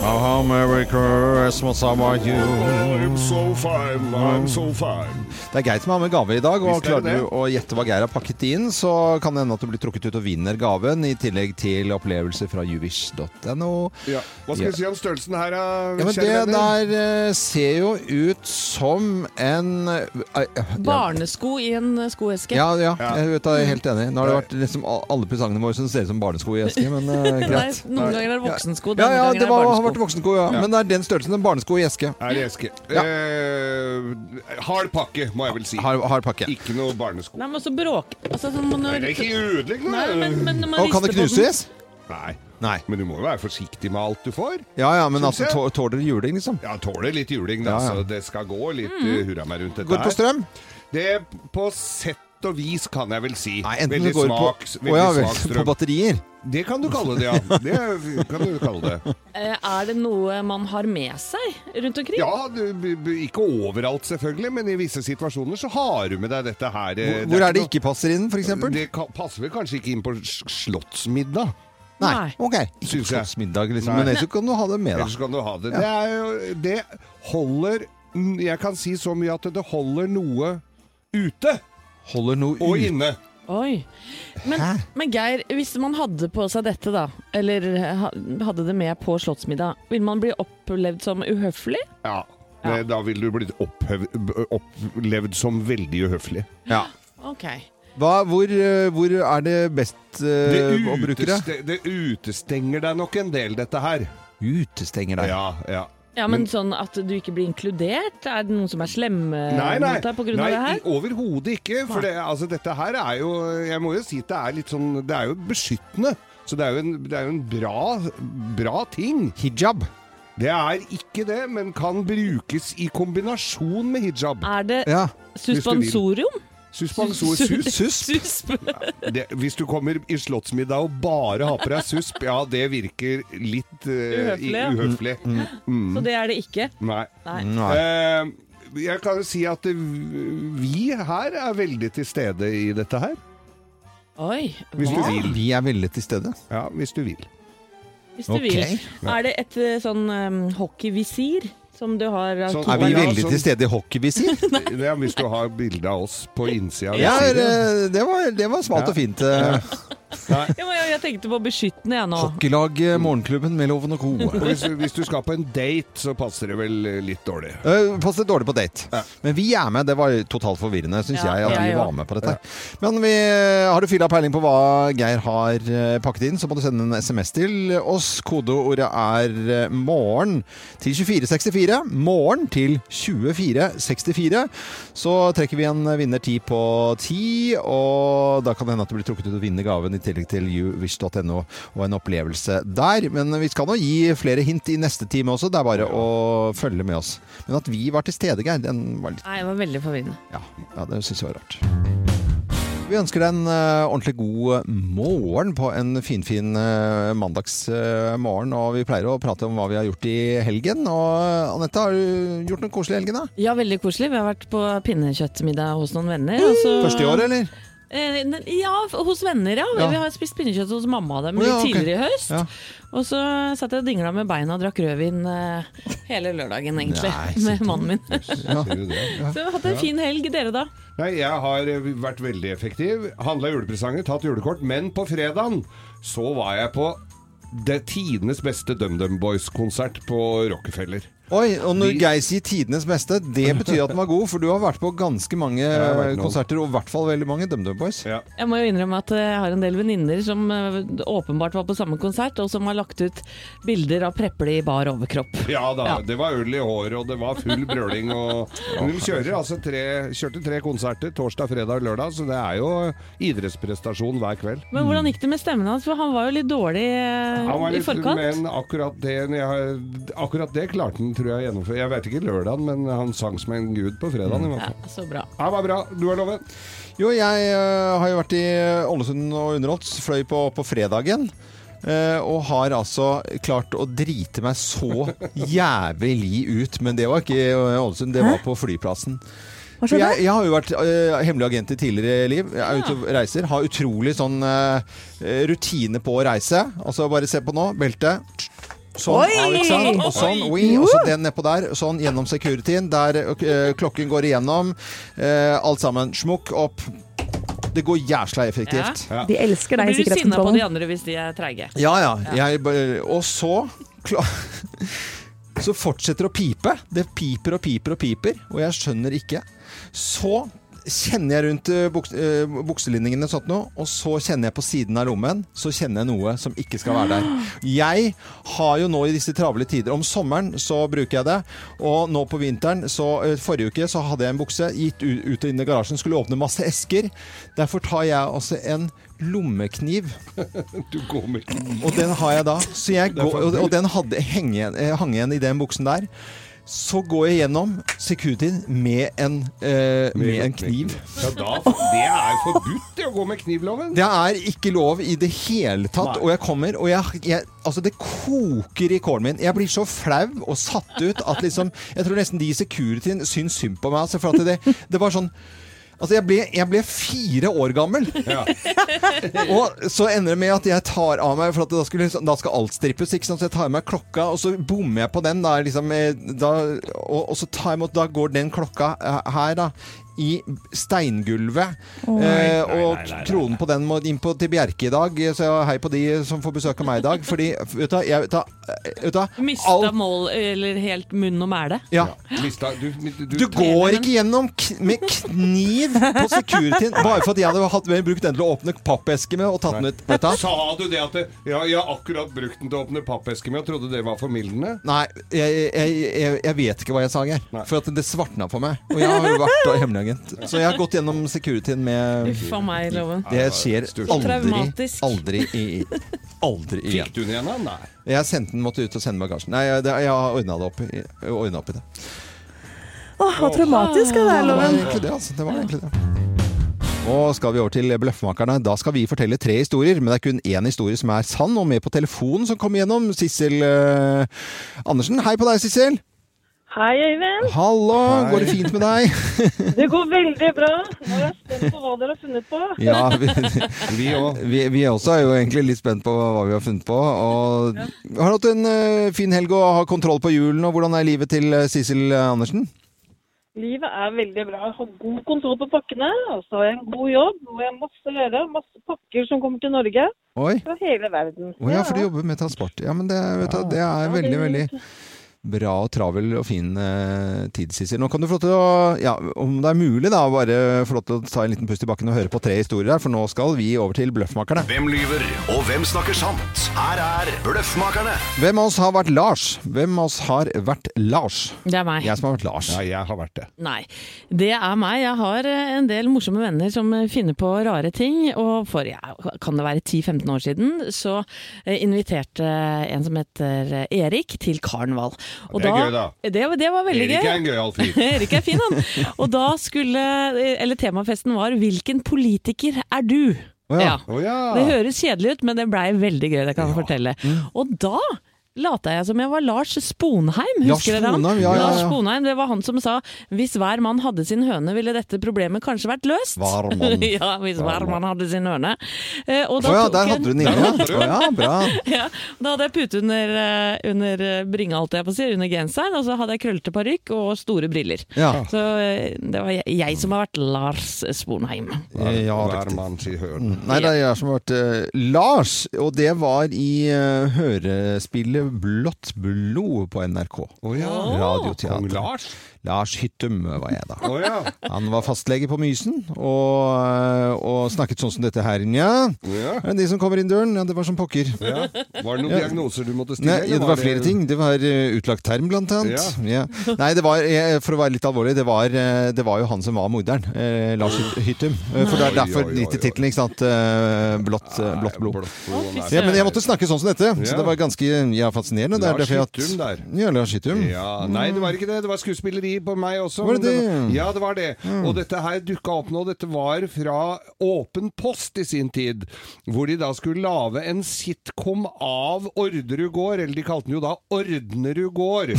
Speaker 1: Oh, Merry Christmas, how are you?
Speaker 3: I'm so fine, I'm so fine.
Speaker 1: Det er Geir som har med gave i dag, og
Speaker 3: Visst er det
Speaker 1: klarer du å gjette hva Geir har pakket inn, så kan det hende at du blir trukket ut og vinner gaven, i tillegg til opplevelser fra juvish.no.
Speaker 3: Ja. Hva skal
Speaker 1: Ja.
Speaker 3: vi si om størrelsen her, da,
Speaker 1: Ja, men
Speaker 3: kjære
Speaker 1: det
Speaker 3: venner?
Speaker 1: der eh, ser jo ut som en eh, eh, ja.
Speaker 4: Barnesko i en eh, skoeske.
Speaker 1: Ja, ja, jeg vet det, jeg er helt enig. Nå har det vært liksom a- alle presangene våre som ser ut som barnesko i eske, men eh,
Speaker 4: Nei,
Speaker 1: greit.
Speaker 4: noen ganger er det voksensko,
Speaker 1: Ja,
Speaker 4: denne
Speaker 1: ja,
Speaker 4: gangen
Speaker 1: det
Speaker 4: er det
Speaker 1: var, har vært
Speaker 4: barnesko.
Speaker 1: voksensko, ja. Men det er den størrelsen en barnesko i eske.
Speaker 3: Er det eske.
Speaker 1: Ja.
Speaker 3: Eh, hard pakke, må jeg vel si.
Speaker 1: Har, har pakke.
Speaker 3: Ikke noe barnesko.
Speaker 4: Nei, men også bråk... Altså, sånn man-
Speaker 3: Nei, det er ikke ødelegg
Speaker 4: Nei, men,
Speaker 3: noe!
Speaker 4: men når man
Speaker 1: Og kan det
Speaker 4: rister på den-
Speaker 1: knuses?
Speaker 3: Nei.
Speaker 1: Nei.
Speaker 3: Men du må jo være forsiktig med alt du får.
Speaker 1: Ja ja, men
Speaker 3: Synes
Speaker 1: altså,
Speaker 3: jeg.
Speaker 1: tå- tåler det juling, liksom?
Speaker 3: Ja, tåler litt juling,
Speaker 1: Ja,
Speaker 3: da,
Speaker 1: ja.
Speaker 3: så det skal gå litt eh, hurra meg rundt dette
Speaker 1: Går det på strøm?
Speaker 3: Det på sett og vis, kan jeg vel si.
Speaker 1: Nei, enten
Speaker 3: veldig
Speaker 1: det går
Speaker 3: svak,
Speaker 1: på
Speaker 3: veldig
Speaker 1: Å ja, vel,
Speaker 3: svak
Speaker 1: på
Speaker 3: strøm. Eh,
Speaker 1: batterier.
Speaker 3: Det kan du kalle det, ja. Det kan du kalle det.
Speaker 4: Eh, Er det noe man har med seg rundt omkring?
Speaker 3: Ja, du, b- b- ikke overalt selvfølgelig, men i visse situasjoner så har du med deg dette her. eh,
Speaker 1: Hvor er det
Speaker 3: noe-
Speaker 1: ikke passer inn, for eksempel?
Speaker 3: Det ka- passer vel kanskje ikke inn på s- slottsmiddag.
Speaker 1: Nei.
Speaker 4: Nei.
Speaker 1: Ok. Ikke
Speaker 3: Synes jeg.
Speaker 1: slottsmiddag, liksom.
Speaker 3: Nei.
Speaker 1: Men ellers så kan du ha det med,
Speaker 3: Ellers
Speaker 1: da.
Speaker 3: kan du ha det. Det, er jo, det holder mm, Jeg kan si så mye at det holder noe ute
Speaker 1: Holder noe
Speaker 3: og
Speaker 1: ut.
Speaker 3: inne.
Speaker 4: Oi. Men,
Speaker 1: Hæ?
Speaker 4: men Geir, hvis man hadde på seg dette, da, eller ha- hadde det med på slottsmiddag, vil man bli opplevd som uhøflig?
Speaker 3: Ja. Det, da ville du blitt opphøv, b- opplevd som veldig uhøflig.
Speaker 1: Ja.
Speaker 4: Ok.
Speaker 1: Hva, hvor, eh, hvor er det best eh,
Speaker 3: Det,
Speaker 1: å bruke det?
Speaker 3: uteste, det utestenger deg nok en del, dette her.
Speaker 1: Utestenger deg.
Speaker 3: Ja, ja.
Speaker 4: Ja, men, sånn at du ikke blir inkludert? Er det noen som er slemme
Speaker 3: Nei, nei,
Speaker 4: mot deg pga.
Speaker 3: nei
Speaker 4: det her?
Speaker 3: i- overhodet ikke. For det, altså, dette her er jo Jeg må jo si at det er litt sånn Det er jo beskyttende. Så det er jo en, det er jo en bra, bra ting.
Speaker 1: Hijab.
Speaker 3: Det er ikke det, men kan brukes i kombinasjon med hijab.
Speaker 4: Er det
Speaker 1: Ja.
Speaker 4: suspensorium?
Speaker 3: Suspensor sus.
Speaker 1: Susp.
Speaker 4: Susp.
Speaker 3: Det, hvis du kommer i slottsmiddag og bare har på deg susp, ja, det virker litt eh,
Speaker 4: Uhøflig,
Speaker 3: i-
Speaker 4: ja.
Speaker 3: uhøflig. Mm.
Speaker 4: Så det er det ikke.
Speaker 3: Nei.
Speaker 4: Nei.
Speaker 1: Nei.
Speaker 3: Eh, jeg kan jo si at eh, vi her er veldig til stede i dette her.
Speaker 4: Oi.
Speaker 3: Hvis du
Speaker 4: hva?
Speaker 3: vil.
Speaker 1: Vi er veldig til stede.
Speaker 3: Ja, hvis du vil.
Speaker 4: Hvis du
Speaker 1: Ok.
Speaker 4: vil. Er det et eh, sånn em, hockeyvisir som du har av
Speaker 3: Sånn-
Speaker 4: to
Speaker 1: Er vi
Speaker 3: Ja,
Speaker 1: veldig
Speaker 3: sånn-
Speaker 1: til stede i hockeyvisir?
Speaker 3: Ja, hvis du har bilde av oss på innsida. av
Speaker 1: Ja,
Speaker 3: visiret.
Speaker 1: eh, det var, det var smalt
Speaker 3: Ja.
Speaker 1: og fint. eh.
Speaker 4: Ja, men jeg, jeg tenkte på beskyttende, jeg nå.
Speaker 1: Hockeylag, eh, Morgenklubben med Loven og Co.
Speaker 3: Og hvis, du- hvis du skal på en date, så passer det vel eh, litt dårlig.
Speaker 1: Eh, Passet dårlig på date. Men vi er med. Det var totalt forvirrende, syns
Speaker 4: Ja,
Speaker 1: jeg, at
Speaker 4: jeg
Speaker 1: vi var
Speaker 4: også.
Speaker 1: med på dette. Men vi, eh, har du fylla peiling på hva Geir har eh, pakket inn, så må du sende en SMS til oss. Kodeordet er eh, 'morgen' til 2464. 'Morgen' til 2464. Så trekker vi en vinner ti på ti, og da kan det hende at du blir trukket ut og vinner gaven i tillegg til youwish.no og en opplevelse der. Men vi skal nå gi flere hint i neste time også, det er bare å følge med oss. Men at vi var til stede, Geir, den var litt
Speaker 4: Nei, jeg var veldig forvirrende.
Speaker 1: Ja, ja det syns jeg var rart. Vi ønsker deg en eh, ordentlig god morgen på en finfin uh, mandagsmorgen. og vi pleier å prate om hva vi har gjort i helgen. Og eh, Anette, har du gjort noe koselig i helgen, da?
Speaker 4: Ja, veldig koselig. Vi har vært på pinnekjøttmiddag hos noen venner. og
Speaker 3: Mm.
Speaker 4: så-
Speaker 1: Første i år, eller?
Speaker 4: Eh, ne- Ja, f- hos venner, ja.
Speaker 1: Ja.
Speaker 4: Vi har spist pinnekjøtt hos mamma og dem
Speaker 1: Å, ja,
Speaker 4: litt
Speaker 1: ok.
Speaker 4: tidligere i høst.
Speaker 1: Ja.
Speaker 4: Og så satt jeg og dingla med beina og drakk rødvin eh, hele lørdagen, egentlig.
Speaker 1: Nei,
Speaker 4: med mannen min.
Speaker 3: Ser du det?
Speaker 4: Så vi har hatt en fin helg, dere da.
Speaker 3: Nei, jeg har eh, vært veldig effektiv. Handla julepresanger, tatt julekort. Men på fredagen så var jeg på det tidenes beste DumDum Boys-konsert på Rockefeller.
Speaker 1: Oi, og når
Speaker 3: Vi-
Speaker 1: Geir sier tidenes beste, det betyr at den var god, for du har vært på ganske mange
Speaker 3: har vært
Speaker 1: eh,
Speaker 3: noen.
Speaker 1: konserter, og i hvert fall veldig mange DumDum Boys.
Speaker 3: Ja.
Speaker 4: Jeg må jo innrømme at jeg har en del venninner som eh, åpenbart var på samme konsert, og som har lagt ut bilder av preple i bar overkropp.
Speaker 3: da,
Speaker 4: Ja.
Speaker 3: Det var øl i håret, og det var full brøling. Og, men de kjører, altså tre, kjørte tre konserter torsdag, fredag og lørdag, så det er jo idrettsprestasjon hver kveld.
Speaker 4: Men
Speaker 1: Mm.
Speaker 4: hvordan gikk det med stemmen hans? For han var jo litt dårlig eh,
Speaker 3: Han var
Speaker 4: i
Speaker 3: litt-
Speaker 4: forkant.
Speaker 3: Men akkurat det, jeg, har- akkurat det klarte han, tror jeg, å gjennomføre. Jeg vet ikke lørdagen, men han sang som en gud på fredagen. i hvert
Speaker 4: Mm. Ja,
Speaker 3: fall.
Speaker 4: så bra.
Speaker 3: Han var bra. Du har loven.
Speaker 1: Jo, jeg eh, har jo vært i Ålesund og underholdt, fløy på, på fredagen. eh, og har altså klart å drite meg så jævlig ut. Men det var ikke i Ålesund, det var på flyplassen.
Speaker 2: Hva
Speaker 1: For
Speaker 2: skjedde?
Speaker 1: Jeg, jeg har jo vært eh, hemmelig agent i tidligere liv. Jeg er ute og reiser. Har utrolig sånn eh, rutine på å reise. Altså bare se på nå. Belte. Sånn,
Speaker 2: Oi!
Speaker 1: av, ikke sant? Og sånn, oi, og så den nedpå der. Sånn gjennom securityen. Der eh, klokken går igjennom. Eh, alt sammen. Smukk opp. Det går jæsla effektivt.
Speaker 2: De elsker deg i
Speaker 4: Blir du sinna på de
Speaker 2: sikkerhetskontrollen.
Speaker 4: andre hvis de er treige?
Speaker 1: Ja, ja. Jeg, bare- og så kla- Så fortsetter det å pipe. Det piper og piper og piper, og jeg skjønner ikke. Så kjenner jeg rundt eh, buks, eh, bukselinningene og sånt noe, og så kjenner jeg på siden av lommen, så kjenner jeg noe som ikke skal være der. Jeg har jo nå i disse travle tider Om sommeren så bruker jeg det, og nå på vinteren så eh, Forrige uke så hadde jeg en bukse, gitt u- ut og inn i garasjen, skulle åpne masse esker. Derfor tar jeg altså en lommekniv
Speaker 3: Du går med
Speaker 1: og den har jeg da. Så jeg går, og, og den hadde, heng igjen, eh, hang igjen i den buksen der. Så går jeg gjennom securityen med en, eh, med en kniv.
Speaker 3: Ja, da, det er jo forbudt det å gå med knivloven.
Speaker 1: Det er ikke lov i det hele tatt.
Speaker 3: Nei.
Speaker 1: Og jeg kommer, og jeg, jeg Altså, det koker i kålen min. Jeg blir så flau og satt ut at liksom Jeg tror nesten de i securityen syns synd på meg. Altså, for at det, det var sånn Altså, jeg ble, jeg ble fire år gammel.
Speaker 3: Ja.
Speaker 1: Og så ender det med at jeg tar av meg For at da, skulle, liksom- da skal alt strippes ikke sant? Så jeg tar av meg klokka Og så bommer jeg på den da, liksom, eh, da, og, og så tar jeg imot Da går den klokka eh, her da i steingulvet eh, Og kronen på den må inn på, til Bjerke i dag eh, Så jeg hei på de som får besøke meg i dag Fordi, vet du, hva, jeg, vet du, hva, vet du hva,
Speaker 4: Mista
Speaker 1: alt-
Speaker 4: mål, eller helt munn og mæle?
Speaker 1: ja.
Speaker 3: Mista, du, du,
Speaker 1: Du går ikke gjennom k med kniv på securityen Bare for at jeg hadde hatt, brukt den til å åpne pappeske med Og tatt den ut Vet du hva?
Speaker 3: Sa du det at det, ja, Jeg har akkurat brukt den til å åpne pappeske med og trodde det var formildende?
Speaker 1: Nei, jeg, jeg, jeg, jeg vet ikke hva jeg sa, Geir.
Speaker 3: Nei.
Speaker 1: For at det svartna på meg. Og jeg har jo vært da hemmelig agent. Så jeg har gått gjennom securityen med
Speaker 4: Uff a meg, Loven.
Speaker 1: Det skjer aldri,
Speaker 4: Traumatisk.
Speaker 1: aldri, i- aldri igjen.
Speaker 3: Fikk du den igjen, da? Nei.
Speaker 1: Jeg sendte den, måtte ut og sende bagasjen. Nei, jeg, det- jeg har ordna det opp, i- ordnet opp i det.
Speaker 2: Åh, hva traumatisk av det er,
Speaker 1: Det var
Speaker 2: Loven.
Speaker 1: egentlig det, altså. Det var egentlig det. Nå skal vi over til Bløffmakerne. Da skal vi fortelle tre historier, men det er kun én historie som er sann, og med på telefonen som kom igjennom, Sissel eh, Andersen. Hei på deg, Sissel.
Speaker 10: Hei, Øyvind.
Speaker 1: Hallo,
Speaker 3: Hei.
Speaker 1: går det fint med deg?
Speaker 10: Det går veldig bra. Nå er jeg spent på hva dere har funnet på.
Speaker 1: Ja, vi,
Speaker 3: Vi òg.
Speaker 1: vi, vi også er jo egentlig litt spent på hva vi har funnet på. Og har du hatt en eh, fin helg og har kontroll på julen, og hvordan er livet til eh, Sissel Andersen?
Speaker 10: Livet er veldig bra. Jeg har god kontroll på pakkene, og så har jeg en god jobb. Og jeg har masse å gjøre. Masse pakker som kommer til Norge
Speaker 1: Oi.
Speaker 10: fra hele verden.
Speaker 1: Å ja, for du jobber med transport. Ja, men det, vet du, det er veldig, veldig bra og travel og fin eh, tid, Sissel. Nå kan du få lov til å, ja, om det er mulig da, bare få lov til å ta en liten pust i bakken og høre på tre historier her, for nå skal vi over til Bløffmakerne.
Speaker 11: Hvem lyver, og hvem snakker sant? Her er Bløffmakerne.
Speaker 1: Hvem av oss har vært Lars? Hvem av oss har vært Lars?
Speaker 4: Det er meg.
Speaker 1: Jeg som har vært Lars.
Speaker 3: Ja, jeg har vært det.
Speaker 4: Nei, det er meg. Jeg har eh, en del morsomme venner som eh, finner på rare ting. Og for ja, kan det være 10-15 år siden, så eh, inviterte en som heter eh, Erik til karneval. Og
Speaker 3: Det er gøy, da.
Speaker 4: Det, var- det var veldig
Speaker 3: Erik
Speaker 4: gøy.
Speaker 3: er en gøyal fyr.
Speaker 4: Erik er fin, han. Og da skulle eh, Eller temafesten var 'Hvilken politiker er du?'
Speaker 1: Å ja. Mm.
Speaker 3: Å ja.
Speaker 4: Det høres kjedelig ut, men det blei veldig gøy, det kan jeg fortelle. Og da lata jeg som jeg var Lars Sponheim,
Speaker 1: Lars
Speaker 4: husker dere han?
Speaker 1: Sponheim, ja, ja,
Speaker 4: Lars
Speaker 1: ja.
Speaker 4: Sponheim, Det var han som sa 'hvis hver mann hadde sin høne, ville dette problemet kanskje vært løst'.
Speaker 1: Hver mann.
Speaker 4: ja, hvis hver mann hadde sin høne. Eh, og da
Speaker 1: Å ja,
Speaker 4: tok
Speaker 1: der
Speaker 4: en-
Speaker 1: hadde du den inne. ja. Å ja, bra.
Speaker 4: ja, da hadde jeg pute under, eh, under eh, bringa, holdt jeg på å si, under genseren, og så hadde jeg krøllete parykk og store briller.
Speaker 1: Ja.
Speaker 4: Så eh, det var jeg, jeg som har vært Lars Sponheim.
Speaker 1: Ja,
Speaker 3: Hver
Speaker 1: riktig. Mm.
Speaker 3: mann sier høren.
Speaker 1: Nei, det er jeg som har vært eh, Lars, og det var i eh, hørespillet Blått blod på NRK.
Speaker 3: Å ja. Kong
Speaker 1: Radioteater.
Speaker 3: Lars?
Speaker 1: Lars Hyttum var jeg da.
Speaker 3: Å ja.
Speaker 1: Han var fastlege på Mysen, og, eh, og snakket sånn som dette her, nja.
Speaker 3: ja.
Speaker 1: Men De som kommer inn døren, ja, det var som pokker.
Speaker 3: ja. Var det noen diagnoser du måtte stille?
Speaker 1: Nei,
Speaker 3: eller
Speaker 1: ja, det var flere ting. Det var eh, utlagt term, blant annet. Ja. Nei, det var, eh, for å være litt alvorlig, det var, eh, det var jo han som var morderen. Eh, Lars Hyt- Hyttum. Eh, For det er
Speaker 3: Nei.
Speaker 1: derfor
Speaker 3: Oi, oi,
Speaker 1: litt i
Speaker 3: oi, oi.
Speaker 1: tittelen, ikke sant. Eh, Blått, eh,
Speaker 3: Nei,
Speaker 1: blått blod.
Speaker 3: blod, nei.
Speaker 1: Ja, men jeg måtte snakke sånn som dette, så
Speaker 3: Ja.
Speaker 1: det var ganske ja, fascinerende. Det er
Speaker 3: Lars
Speaker 1: derfor jeg at-
Speaker 3: Hyttum der.
Speaker 1: Ja, Lars Hyttum.
Speaker 3: Ja, nei, det var ikke det. Det var skuespilleri på meg også.
Speaker 1: Var det
Speaker 3: men
Speaker 1: det?
Speaker 3: ja, det var det.
Speaker 1: Mm.
Speaker 3: Og dette her dukka opp nå. Dette var fra Åpen post i sin tid, hvor de da skulle lage en sitcom av Orderud gård. Eller de kalte den jo da Ordnerud gård.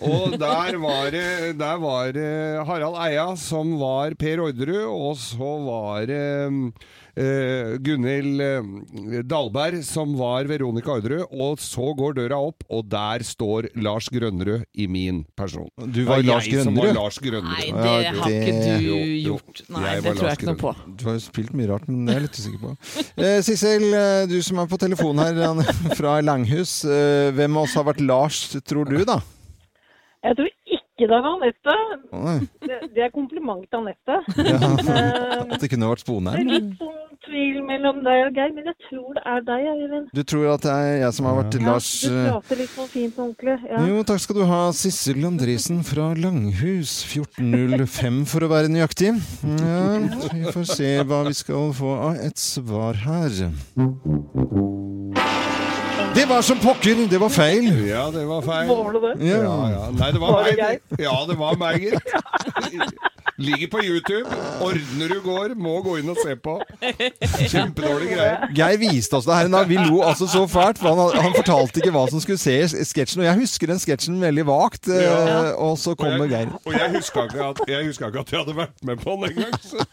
Speaker 3: og der var, det- der var det Harald Eia som var Per Orderud, og så var det Eh, Gunhild eh, Dahlberg, som var Veronica Orderud. Og så går døra opp, og der står Lars Grønnerød i min person.
Speaker 1: Du var
Speaker 3: Det er
Speaker 1: Lars
Speaker 3: jeg som var
Speaker 1: Grønnerød?
Speaker 3: Lars Grønnerød.
Speaker 4: Nei,
Speaker 1: Ja,
Speaker 4: det har
Speaker 1: det-
Speaker 4: ikke du
Speaker 3: Jo, jo.
Speaker 4: gjort. Nei,
Speaker 3: Jeg
Speaker 4: det
Speaker 3: var
Speaker 4: tror
Speaker 3: Lars
Speaker 4: jeg ikke noe på.
Speaker 1: Du har jo spilt mye rart, men det er jeg litt usikker på. Eh, Sissel, eh, du som er på telefon her Anne, fra Langhus. eh, hvem av oss har vært Lars, tror du, da?
Speaker 10: Jeg tror ikke det er Anette.
Speaker 1: Å,
Speaker 10: Det, det er kompliment til Anette. Eh,
Speaker 1: Ja, at det kunne vært
Speaker 10: Det er
Speaker 1: Sponheim?
Speaker 10: litt sånn tvil mellom deg og Geir, men jeg tror det er deg, Øyvind.
Speaker 1: Du tror at det er jeg som har vært
Speaker 10: Ja,
Speaker 1: Lars?
Speaker 10: du
Speaker 1: eh,
Speaker 10: prater litt sånn fint og ordentlig. Ja.
Speaker 1: Jo, takk skal du ha, Sissel Andresen fra Langhus. 1405 for å være nøyaktig. Ja, vi får se hva vi skal få av et svar her. Det var som pokker, det var feil.
Speaker 3: Ja, det var feil.
Speaker 10: Var det det?
Speaker 1: Ja.
Speaker 3: Ja, ja. Nei, det var,
Speaker 10: Var det
Speaker 3: meg. Ja, det var meg, gitt. Ligger på YouTube. Ordnerud gård. Må gå inn og se på. Kjempedårlige greier.
Speaker 1: Geir viste oss det her en dag. Vi lo altså så fælt. For han, han fortalte ikke hva som skulle se i s- sketsjen. Og jeg husker den sketsjen veldig vagt. eh,
Speaker 3: Ja.
Speaker 1: Og så
Speaker 3: Og
Speaker 1: kommer
Speaker 3: jeg,
Speaker 1: Geir.
Speaker 3: og jeg huska ikke, at- jeg huska ikke at jeg hadde vært med på den engang. så-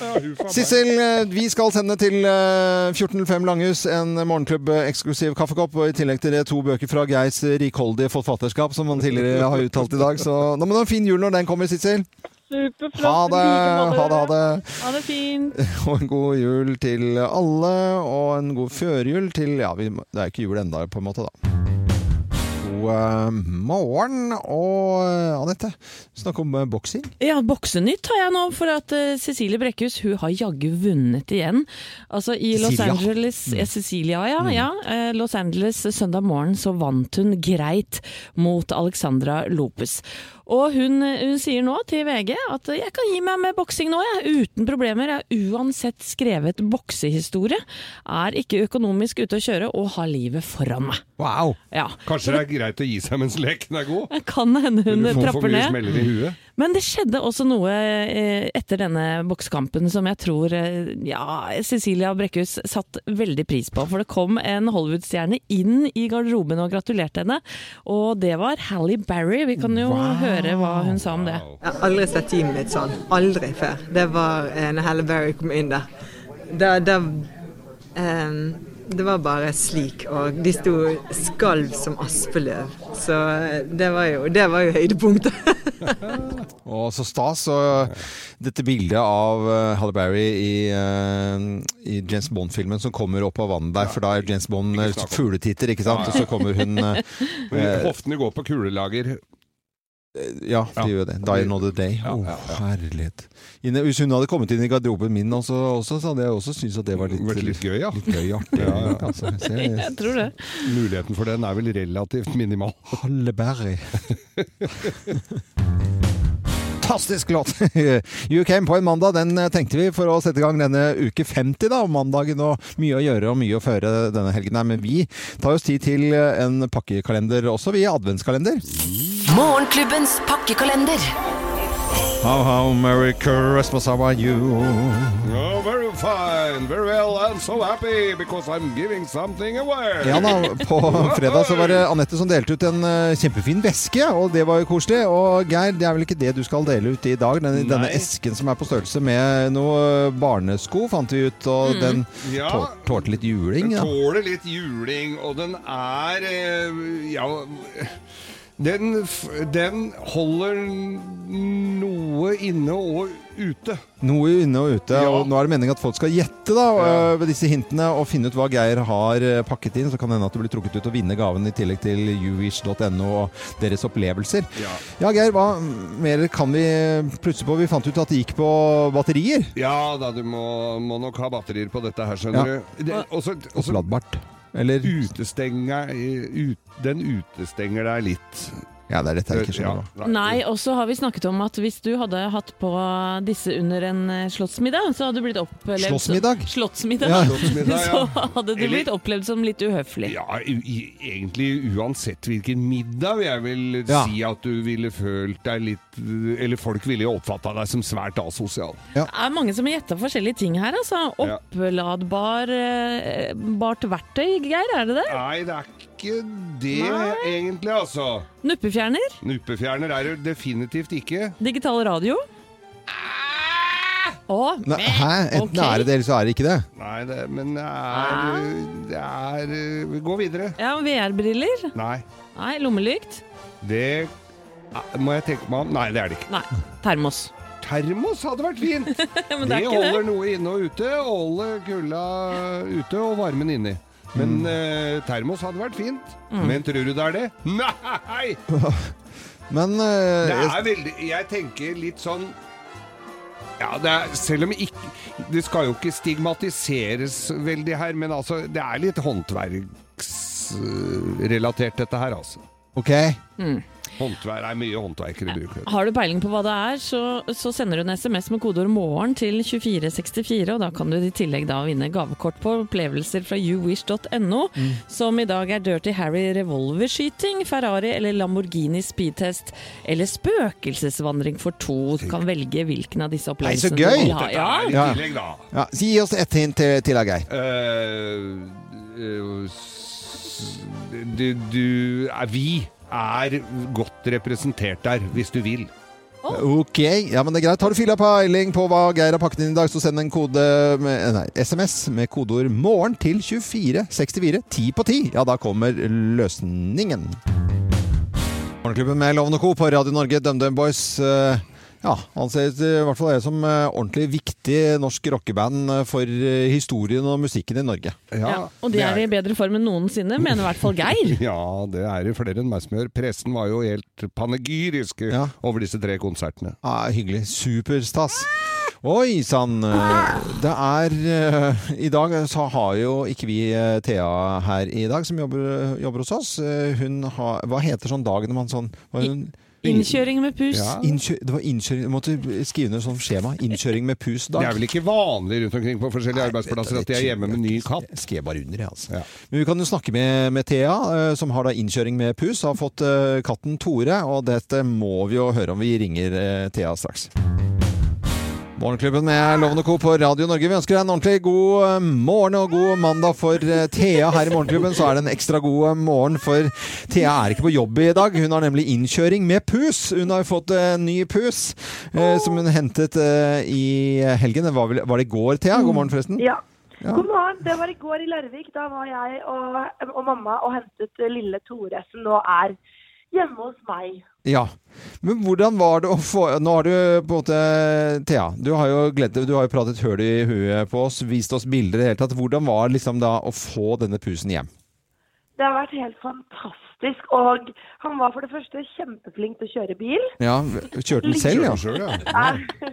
Speaker 3: Ja, huff a meg.
Speaker 1: Sissel, eh, vi skal sende til eh, 1405 Langhus en morgenklubb-eksklusiv kaffekopp. Og i tillegg til det to bøker fra Geirs rikholdige forfatterskap, som han tidligere har uttalt i dag. Så nå må du ha en fin jul når den kommer, Sissel.
Speaker 10: Superflott.
Speaker 1: Ha det!
Speaker 10: Like måte.
Speaker 1: Ha det, ha det.
Speaker 4: Ha det fint!
Speaker 1: Og en god jul til alle, og en god førjul til Ja, vi, det er ikke jul enda på en måte, da. God eh, morgen. Og eh, Anette, snakk om eh, boksing.
Speaker 4: Ja, Boksenytt har jeg nå, for at eh, Cecilie Brekkhus hun har jaggu vunnet igjen. Altså i Los
Speaker 1: Cecilia.
Speaker 4: Angeles
Speaker 3: Mm.
Speaker 4: ja, Cecilia, ja. ja. Eh, Los Angeles søndag morgen så vant hun greit mot Alexandra Lopez. Og hun, eh, hun sier nå til VG at eh, 'jeg kan gi meg med boksing nå, jeg, uten problemer'. 'Jeg har uansett skrevet boksehistorie, er ikke økonomisk ute å kjøre og har livet foran meg'.
Speaker 3: Wow!
Speaker 4: Ja.
Speaker 3: Kanskje det er greit å gi seg mens leken er god?
Speaker 4: Kan hende hun
Speaker 3: Du får for
Speaker 4: trapper
Speaker 3: mye
Speaker 4: ned.
Speaker 3: smeller i huet.
Speaker 1: Mm.
Speaker 4: Men det skjedde også noe eh, etter denne boksekampen som jeg tror eh, ja, Cecilia Brekkhus satt veldig pris på. For det kom en Hollywood-stjerne inn i garderoben og gratulerte henne. Og det var Halle Berry. Vi kan jo høre hva hun sa om det.
Speaker 12: Jeg har aldri sett teamet mitt sånn. Aldri før. Det var eh, når Halle Berry kom inn der. Da, da ehm, Det var bare slik, og de sto skalv som aspeløv. Så eh, det var jo, det var jo høydepunktet.
Speaker 1: Og så stas. Og dette bildet av eh, Halle Berry i, eh, i James Bond-filmen som kommer opp av vannet der, for da er James Bond eh, fugletitter, ikke sant? Og så kommer hun eh,
Speaker 3: Men
Speaker 1: eh,
Speaker 3: Hoftene går på kulelager.
Speaker 1: Ja, de gjør det. Die another day. Å, herlighet. Inne, hvis hun hadde kommet inn i garderoben min også, også så hadde jeg også syntes at det var litt,
Speaker 3: Vært litt gøy, ja.
Speaker 1: Litt gøy, artig.
Speaker 3: Ja, ja.
Speaker 1: Altså, så jeg-
Speaker 4: Jeg tror det.
Speaker 3: Muligheten for den er vel relativt minimal.
Speaker 1: Halle Berry. Fantastisk låt! You Came på en mandag, den eh, tenkte vi for å sette i gang denne uke 50, da, om mandagen. Og mye å gjøre og mye å føre denne helgen her. Men vi tar oss tid til eh, en pakkekalender også, vi. Adventskalender.
Speaker 9: Morgenklubbens pakkekalender.
Speaker 1: How, how, merry Christmas, how are you?
Speaker 3: Oh, very fine, very well, I'm so happy because I'm giving something away.
Speaker 1: Ja da, på fredag så var det Anette som delte ut en eh, kjempefin veske, og det var jo koselig. Og Geir, det er vel ikke det du skal dele ut i dag? Den, denne esken som er på størrelse med noe barnesko, fant vi ut, og
Speaker 3: Mm.
Speaker 1: den
Speaker 3: Ja.
Speaker 1: tål- tålte litt juling.
Speaker 3: Den
Speaker 1: Ja.
Speaker 3: tåler litt juling, og den er eh, Ja den, f- den holder noe inne og ute.
Speaker 1: Noe inne og ute,
Speaker 3: Ja.
Speaker 1: og nå er det meningen at folk skal gjette da, eh, ved disse hintene, og finne ut hva Geir har eh, pakket inn, så kan det hende at du blir trukket ut og vinne gaven i tillegg til youwish.no og deres opplevelser.
Speaker 3: Ja.
Speaker 1: Ja, Geir, hva mer kan vi plutselig på? Vi fant ut at det gikk på batterier.
Speaker 3: Ja da, du må, må nok ha batterier på dette her,
Speaker 1: Ja.
Speaker 3: skjønner du. Det, også, også
Speaker 1: Oppladbart. Eller
Speaker 3: utestenger ut, Den utestenger deg litt.
Speaker 1: Ja, det er dette jeg ikke skjønner.
Speaker 3: Ja,
Speaker 4: Nei, og så har vi snakket om at hvis du hadde hatt på disse under en eh, slottsmiddag, så hadde du blitt opplevd
Speaker 1: Slottsmiddag?
Speaker 4: Slottsmiddag.
Speaker 1: Ja.
Speaker 3: Slottsmiddag, ja.
Speaker 4: Så hadde du blitt opplevd som litt uhøflig.
Speaker 3: Ja, u i- egentlig uansett hvilken middag vil jeg vel
Speaker 1: Ja.
Speaker 3: si at du ville følt deg litt Eller folk ville jo oppfatta deg som svært asosial.
Speaker 4: Det er mange som har gjetta forskjellige ting her. altså.
Speaker 3: Ja.
Speaker 4: Oppladbar eh, bart verktøy, Geir, er det det?
Speaker 3: Nei, det er ikke det egentlig, altså.
Speaker 4: Nuppefjerner?
Speaker 3: Nuppefjerner er det definitivt ikke.
Speaker 4: Digital radio? Å,
Speaker 1: Nei, hæ? Enten
Speaker 4: Ok.
Speaker 1: er det det, eller så er det ikke det.
Speaker 3: Nei, det, men det er, det er Vi går videre.
Speaker 4: ja, VR-briller?
Speaker 3: Nei,
Speaker 4: Nei, lommelykt?
Speaker 3: det må jeg tenke meg om. Nei, det er det ikke.
Speaker 4: Nei, termos.
Speaker 3: Termos hadde vært fint!
Speaker 4: Men
Speaker 3: det
Speaker 4: det er ikke
Speaker 3: holder
Speaker 4: det.
Speaker 3: noe inne og ute, og holder kulda ute og varmen inni. Men
Speaker 4: Mm.
Speaker 3: eh, termos hadde vært fint. Men tror du det er det? Nei!
Speaker 1: Men eh,
Speaker 3: Det
Speaker 1: jeg-
Speaker 3: er veldig Jeg tenker litt sånn ja, det er, selv om ikke Det skal jo ikke stigmatiseres veldig her, men altså, det er litt håndverksrelatert, dette her, altså.
Speaker 1: OK.
Speaker 4: Mm.
Speaker 3: Håndverk er mye håndverkere bruker.
Speaker 4: Har du peiling på hva det er, så, så sender du en SMS med kodeord 'morgen' til 2464, og da kan du i tillegg da vinne gavekort på opplevelser fra youwish.no,
Speaker 1: Mm.
Speaker 4: som i dag er Dirty Harry revolverskyting, Ferrari eller Lamborghini speedtest, eller spøkelsesvandring for to. Du kan velge hvilken av disse
Speaker 1: Nei, så
Speaker 4: opplevelsene du
Speaker 1: gøy!
Speaker 4: vil ha. Ja,
Speaker 3: i
Speaker 1: Ja.
Speaker 3: tillegg, da.
Speaker 1: Ja, si- gi oss ett hint til, til da, Geir.
Speaker 3: Eh, eh, s- du, du er, Vi er godt representert der, hvis du vil.
Speaker 1: OK. Ja, men det er greit. Har du fylla peiling på hva Geir har pakket inn i dag, så send en kode med, eh, nei, SMS med kodeord 'morgen' til 2464 10 på 10. Ja, da kommer løsningen. Morgenklubben med Loven og Co. på Radio Norge, DumDum Boys. Eh, Ja, anses i hvert fall jeg som eh, ordentlig viktig norsk rockeband eh, for eh, historien og musikken i Norge.
Speaker 4: Ja, og de er i bedre form enn noensinne, mener i hvert fall Geir.
Speaker 3: Ja, det er jo flere enn meg som gjør. Pressen var jo helt panegyrisk over disse tre konsertene.
Speaker 1: Ja, Ah, hyggelig. Superstas. Oi sann! Det er eh, I dag så har jo ikke vi eh, Thea her i dag, som jobber, jobber hos oss. Eh, Hun har Hva heter sånn dagen når man sånn hva er hun?
Speaker 4: Innkjøring med pus.
Speaker 1: Ja. Innkjø, det var innkjøring Du måtte skrive ned sånn skjema. Innkjøring med pus-dag.
Speaker 3: Det er vel ikke vanlig rundt omkring på forskjellige arbeidsplasser at de er hjemme med ny katt? Jeg
Speaker 1: skrev bare under, jeg, altså. Men vi kan jo snakke med, med Thea, eh, som har da innkjøring med pus. Har fått eh, katten Tore, og dette må vi jo høre om. Vi ringer eh, Thea straks. Morgenklubben med Lovende Co. på Radio Norge. Vi ønsker deg en ordentlig god eh, morgen og god mandag for eh, Thea her i Morgenklubben. Så er det en ekstra god eh, morgen, for Thea er ikke på jobb i dag. Hun har nemlig innkjøring med pus. Hun har jo fått eh, ny pus, eh, som hun hentet eh, i helgen. Det Var, vel, var det i går, Thea? God morgen, forresten.
Speaker 13: Ja.
Speaker 1: Ja.
Speaker 13: God morgen. Det var i går i Larvik. Da var jeg og, og mamma og hentet lille Tore, som nå er hjemme hos meg.
Speaker 1: Ja. Men hvordan var det å få Nå har du på en måte Thea, du har jo, gledet, du har jo pratet høl i huet på oss, vist oss bilder i det hele tatt. Hvordan var det liksom da å få denne pusen hjem?
Speaker 13: Det har vært helt fantastisk. Og han var for det første kjempeflink til å kjøre bil.
Speaker 1: Ja, Kjørte den selv, ja?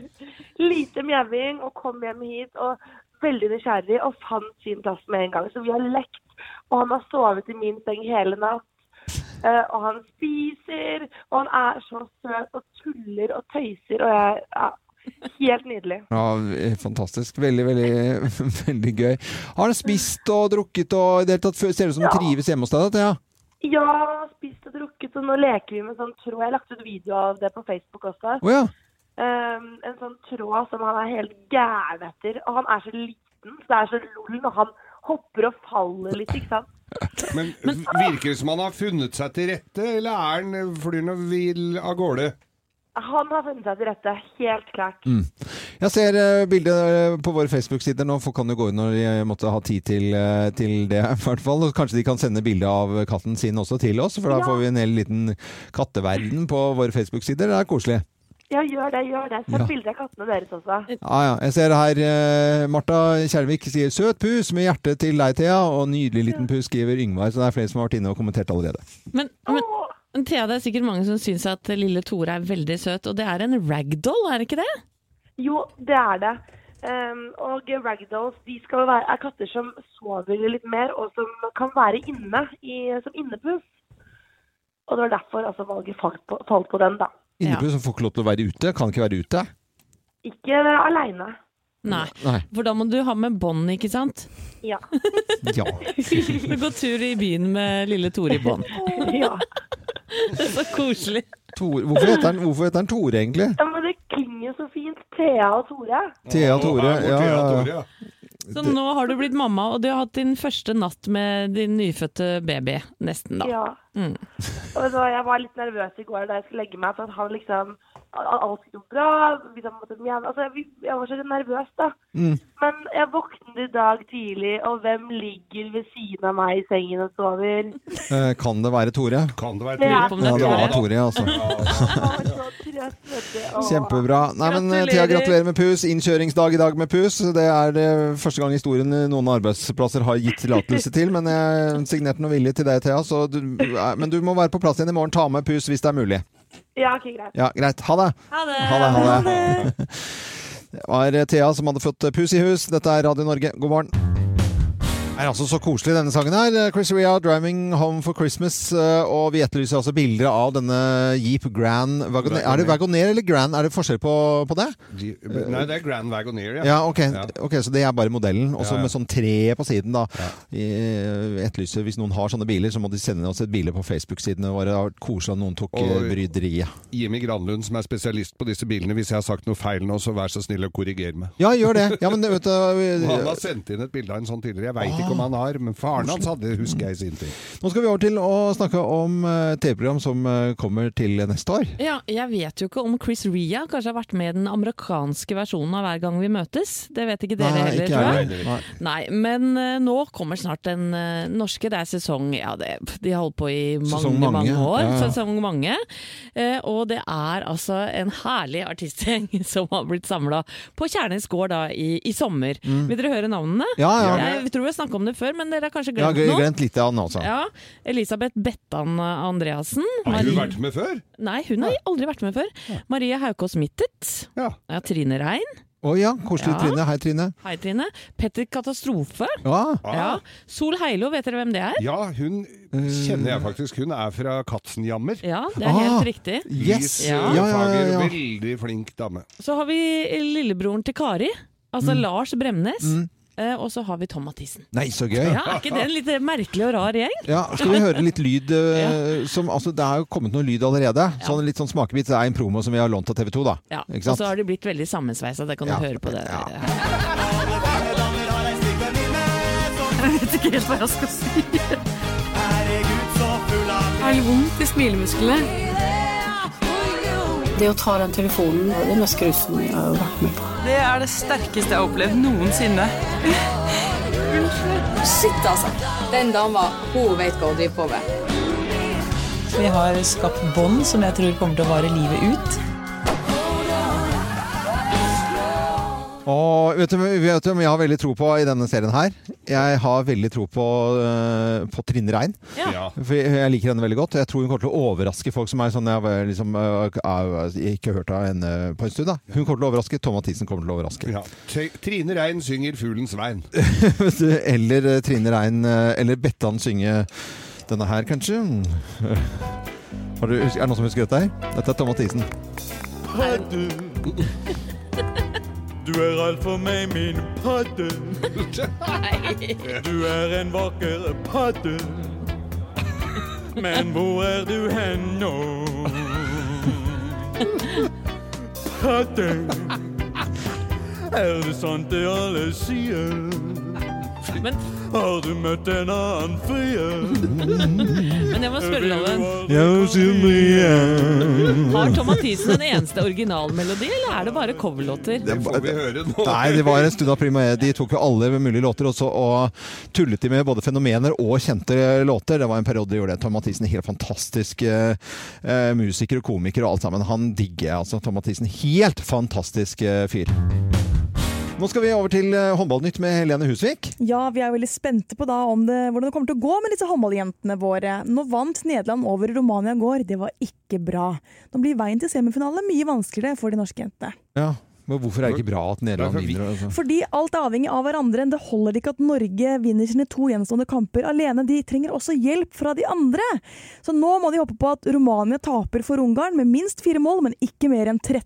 Speaker 13: Lite mjauing og kom hjem hit og veldig nysgjerrig og fant sin plass med en gang. Så vi har lekt, og han har sovet i min seng hele natt. Eh, og han spiser, og han er så søt og tuller og tøyser, og jeg ja, Helt nydelig.
Speaker 1: ja. eh, Fantastisk. Veldig, veldig, veldig gøy. Har han spist og drukket og i det hele tatt ser det ut som han
Speaker 13: Ja.
Speaker 1: trives hjemme hos deg? da, Thea?
Speaker 13: Ja, han har spist og drukket, og nå leker vi med sånn tråd. Jeg har lagt ut video av det på Facebook også.
Speaker 1: Å ja.
Speaker 13: Um, en sånn tråd som han er helt gæren etter. Og han er så liten, så det er så lol når han hopper og faller litt, ikke sant.
Speaker 3: Men virker det som han har funnet seg til rette, eller er han flyr og vill av gårde?
Speaker 13: Han har funnet seg til rette, helt klart.
Speaker 1: Mm. Jeg ser eh, bildet eh, på våre Facebook-sider nå, folk kan jo gå inn når de måtte ha tid til, eh, til det. i hvert fall. Og Kanskje de kan sende bilde av katten sin også til oss, for da
Speaker 13: Ja.
Speaker 1: får vi en hel liten katteverden på våre Facebook-sider. Det er koselig.
Speaker 13: Ja, gjør det, gjør det. Send
Speaker 1: Ja.
Speaker 13: bilder av kattene deres også.
Speaker 1: Ja, ja. Jeg ser her eh, Marta Kjærvik sier 'søt pus' med hjerte til deg, Thea, og 'nydelig liten pus' skriver Yngvar. Så det er flere som har vært inne og kommentert allerede.
Speaker 4: Men, men, men Thea, det er sikkert mange som syns at lille Tore er veldig søt, og det er en ragdoll, er det ikke det?
Speaker 13: Jo, det er det. Um, og ragdolls de skal jo være, er katter som sover litt mer, og som kan være inne i, som innepus. Og det var derfor altså, valget falt på, falt på den, da.
Speaker 1: Innepus får ikke lov til å være ute. Kan ikke være ute.
Speaker 13: Ikke aleine.
Speaker 4: Nei.
Speaker 1: Nei.
Speaker 4: For da må du ha med bånd, ikke sant?
Speaker 13: Ja.
Speaker 1: Ja.
Speaker 4: Du går tur i byen med lille Tore i bånd.
Speaker 13: ja.
Speaker 4: Det er så koselig.
Speaker 1: Tor, hvorfor heter han- hvorfor heter han Tore, egentlig?
Speaker 13: Ja, men det klinger jo så fint. Thea og Tore.
Speaker 1: Thea Tore.
Speaker 3: Å, her går
Speaker 1: Ja,
Speaker 3: Thea
Speaker 1: ja,
Speaker 3: Tore,
Speaker 1: ja.
Speaker 4: Så nå har du blitt mamma, og du har hatt din første natt med din nyfødte baby, nesten da.
Speaker 13: Ja.
Speaker 4: Mm.
Speaker 13: Og så jeg var litt nervøs i går da jeg skulle legge meg, for at han liksom al- Alt skulle gå bra. Liksom, måtte, jeg, altså, vi- jeg var så nervøs, da.
Speaker 1: Mm.
Speaker 13: Men jeg våknet i dag tidlig, og hvem ligger ved siden av meg i sengen og sover?
Speaker 1: Eh, Kan det være Tore?
Speaker 3: Kan det være
Speaker 13: Det er
Speaker 1: Ja,
Speaker 13: Tore.
Speaker 1: det var Tore, altså. Kjempebra. Nei, men eh, Thea, gratulerer med pus. Innkjøringsdag i dag med pus. Det er eh, første gang i historien eh, noen arbeidsplasser har gitt tillatelse til. Men jeg signerte noe vilje til deg, Thea. Så du, eh, men du må være på plass igjen i morgen. Ta med pus hvis det er mulig.
Speaker 13: Ja, ok, greit.
Speaker 1: Ja, greit. Ha det.
Speaker 13: Ha det.
Speaker 1: Ha det, ha det. Det var eh, Thea som hadde fått eh, pus i hus. Dette er Radio Norge. God morgen. Det er altså så koselig denne sangen her. Chris Rea, 'Driving Home for Christmas'. eh, Og vi etterlyser altså bilder av denne Jeep Grand Wagoneer. Er det Wagoneer eller Grand? Er det forskjell på, på det?
Speaker 3: Eh, Nei, det er Grand Wagoneer,
Speaker 1: Ja, ok. ok, Så det er bare modellen. Og så
Speaker 3: Ja, ja.
Speaker 1: med sånn tre på siden, da. Eh, Vi etterlyser hvis noen har sånne biler, så må de sende oss et bilde på Facebook-sidene våre. Det har vært Koselig at noen tok eh,
Speaker 3: Og-
Speaker 1: bryderiet.
Speaker 3: Jimmy Granlund, som er spesialist på disse bilene. Hvis jeg har sagt noe feil nå, så vær så snill å korrigere meg.
Speaker 1: Ja, gjør det. Ja, men vet du eh,
Speaker 3: Han har sendt inn et bilde av en sånn tidligere. Jeg veit ikke ikke
Speaker 4: Ah.
Speaker 3: om han har, men faren hans hadde, husker jeg i sin tid.
Speaker 1: Nå skal vi over til å snakke om eh, TV-program som eh, kommer til neste år.
Speaker 4: Ja, jeg vet jo ikke om Chris Ria kanskje har vært med i den amerikanske versjonen av Hver gang vi møtes. Det vet ikke dere
Speaker 1: Nei,
Speaker 4: heller,
Speaker 1: ikke
Speaker 4: tror
Speaker 1: jeg.
Speaker 4: jeg. Nei, men eh, nå kommer snart den eh, norske. Det er sesong Ja, det, de har holdt på i mange,
Speaker 1: Sesong mange,
Speaker 4: mange, år.
Speaker 1: ja, ja.
Speaker 4: Sesong mange. Eh, og det er altså en herlig artistgjeng som har blitt samla på Kjernes gård da i, i sommer.
Speaker 1: Mm.
Speaker 4: Vil dere høre navnene?
Speaker 1: Ja, ja.
Speaker 4: Jeg tror vi har snakka om det før, men dere har kanskje
Speaker 1: Jeg altså. har
Speaker 4: glemt
Speaker 1: gl-
Speaker 4: noe?
Speaker 1: glemt litt av den også.
Speaker 4: Ja, Elisabeth Bettan Andreassen.
Speaker 3: Har du
Speaker 4: Marie-
Speaker 3: vært med før?
Speaker 4: Nei, hun har aldri vært med før. Marie Haukås Mittet.
Speaker 3: Ja.
Speaker 4: Trine Rein.
Speaker 1: Å ja, koselig
Speaker 4: Ja.
Speaker 1: Trine. Hei, Trine.
Speaker 4: Hei, Trine. Petter Katastrofe.
Speaker 1: Ja.
Speaker 4: Ja. Sol Heilo, vet dere hvem det er?
Speaker 3: Ah. Ja, hun kjenner
Speaker 4: Eh.
Speaker 3: jeg faktisk. Hun er fra Katzenjammer.
Speaker 4: Ja, det er helt riktig.
Speaker 3: Yes!
Speaker 4: Ja.
Speaker 3: Ja,
Speaker 4: Ja, ja, ja, ja.
Speaker 3: Veldig flink dame.
Speaker 4: Så har vi lillebroren til Kari, altså
Speaker 3: Mm.
Speaker 4: Lars Bremnes.
Speaker 1: Mm.
Speaker 4: Eh, Og så har vi Tom Mathisen.
Speaker 1: Nei, så gøy.
Speaker 4: Ja, er ikke det en litt merkelig og rar gjeng?
Speaker 1: Ja, skal vi høre litt lyd? eh, Som, altså, det er jo kommet noe lyd allerede. Sånn, litt sånn smakebit. Det er en promo som vi har lånt av TV 2, da.
Speaker 4: Ja, Og
Speaker 1: Ikke
Speaker 4: så
Speaker 1: sant?
Speaker 4: har de blitt veldig sammensveisa, det kan du høre på det.
Speaker 14: Jeg vet ikke helt hva jeg skal si. Jeg har litt vondt i smilemusklene. Det å ta den telefonen, det mest grusomme jeg har vært med på.
Speaker 15: Det er det sterkeste jeg har opplevd noensinne.
Speaker 16: Shit, altså. Den dama, hun vet hva hun driver på med.
Speaker 15: Vi har skapt bånd som jeg tror kommer til å vare livet ut.
Speaker 1: Og vet du, vet du hvem jeg har veldig tro på i denne serien her? Jeg har veldig tro på, eh, på Trine Rein.
Speaker 3: Ja.
Speaker 1: For jeg, jeg liker henne veldig godt. og Jeg tror hun kommer til å overraske folk som er sånn Jeg har liksom, eh, er- jeg har ikke hørt av henne på en stund. da. Hun kommer til å overraske. Tom Mathisen kommer til å overraske.
Speaker 3: T- Trine Rein synger 'Fuglens vein'.
Speaker 1: Vet du, eller eh, Trine Rein eh, Eller Bettan synge denne her, kanskje. Har du, er det noen som husker dette? her? Dette er Tom Mathisen.
Speaker 14: Hadde. Du er alt for meg, min padde. Du er en vakker padde. Men hvor er du hen nå? Padde. Er det sant det alle sier? Har du møtt en annen fyr?
Speaker 4: Men jeg må spørre, Loven. Har
Speaker 14: Har
Speaker 4: Tom Mathisen en eneste originalmelodi, eller er det bare coverlåter?
Speaker 1: Det får
Speaker 3: vi høre nå.
Speaker 1: Nei, det var en stund da Prima E. De tok jo alle mulige låter, og så og tullet de med både fenomener og kjente låter. Det var en periode de gjorde det. Tom Mathisen, helt fantastisk eh, eh, musiker og komiker og alt sammen. Han digger jeg, altså. Tom Mathisen, helt fantastisk eh, fyr. Nå skal vi over til eh, Håndballnytt med Helene Husvik.
Speaker 5: Ja, vi er veldig spente på da om det, hvordan det kommer til å gå med disse håndballjentene våre. Nå vant Nederland over Romania i går. Det var ikke bra. Nå blir veien til semifinale mye vanskeligere for de norske jentene.
Speaker 1: Ja, men hvorfor er det ikke bra at Nederland vinner? Altså?
Speaker 5: Fordi alt er avhengig av hverandre. Det holder ikke at Norge vinner sine to gjenstående kamper alene. De trenger også hjelp fra de andre. Så nå må de håpe på at Romania taper for Ungarn med minst fire mål, men ikke mer enn 13.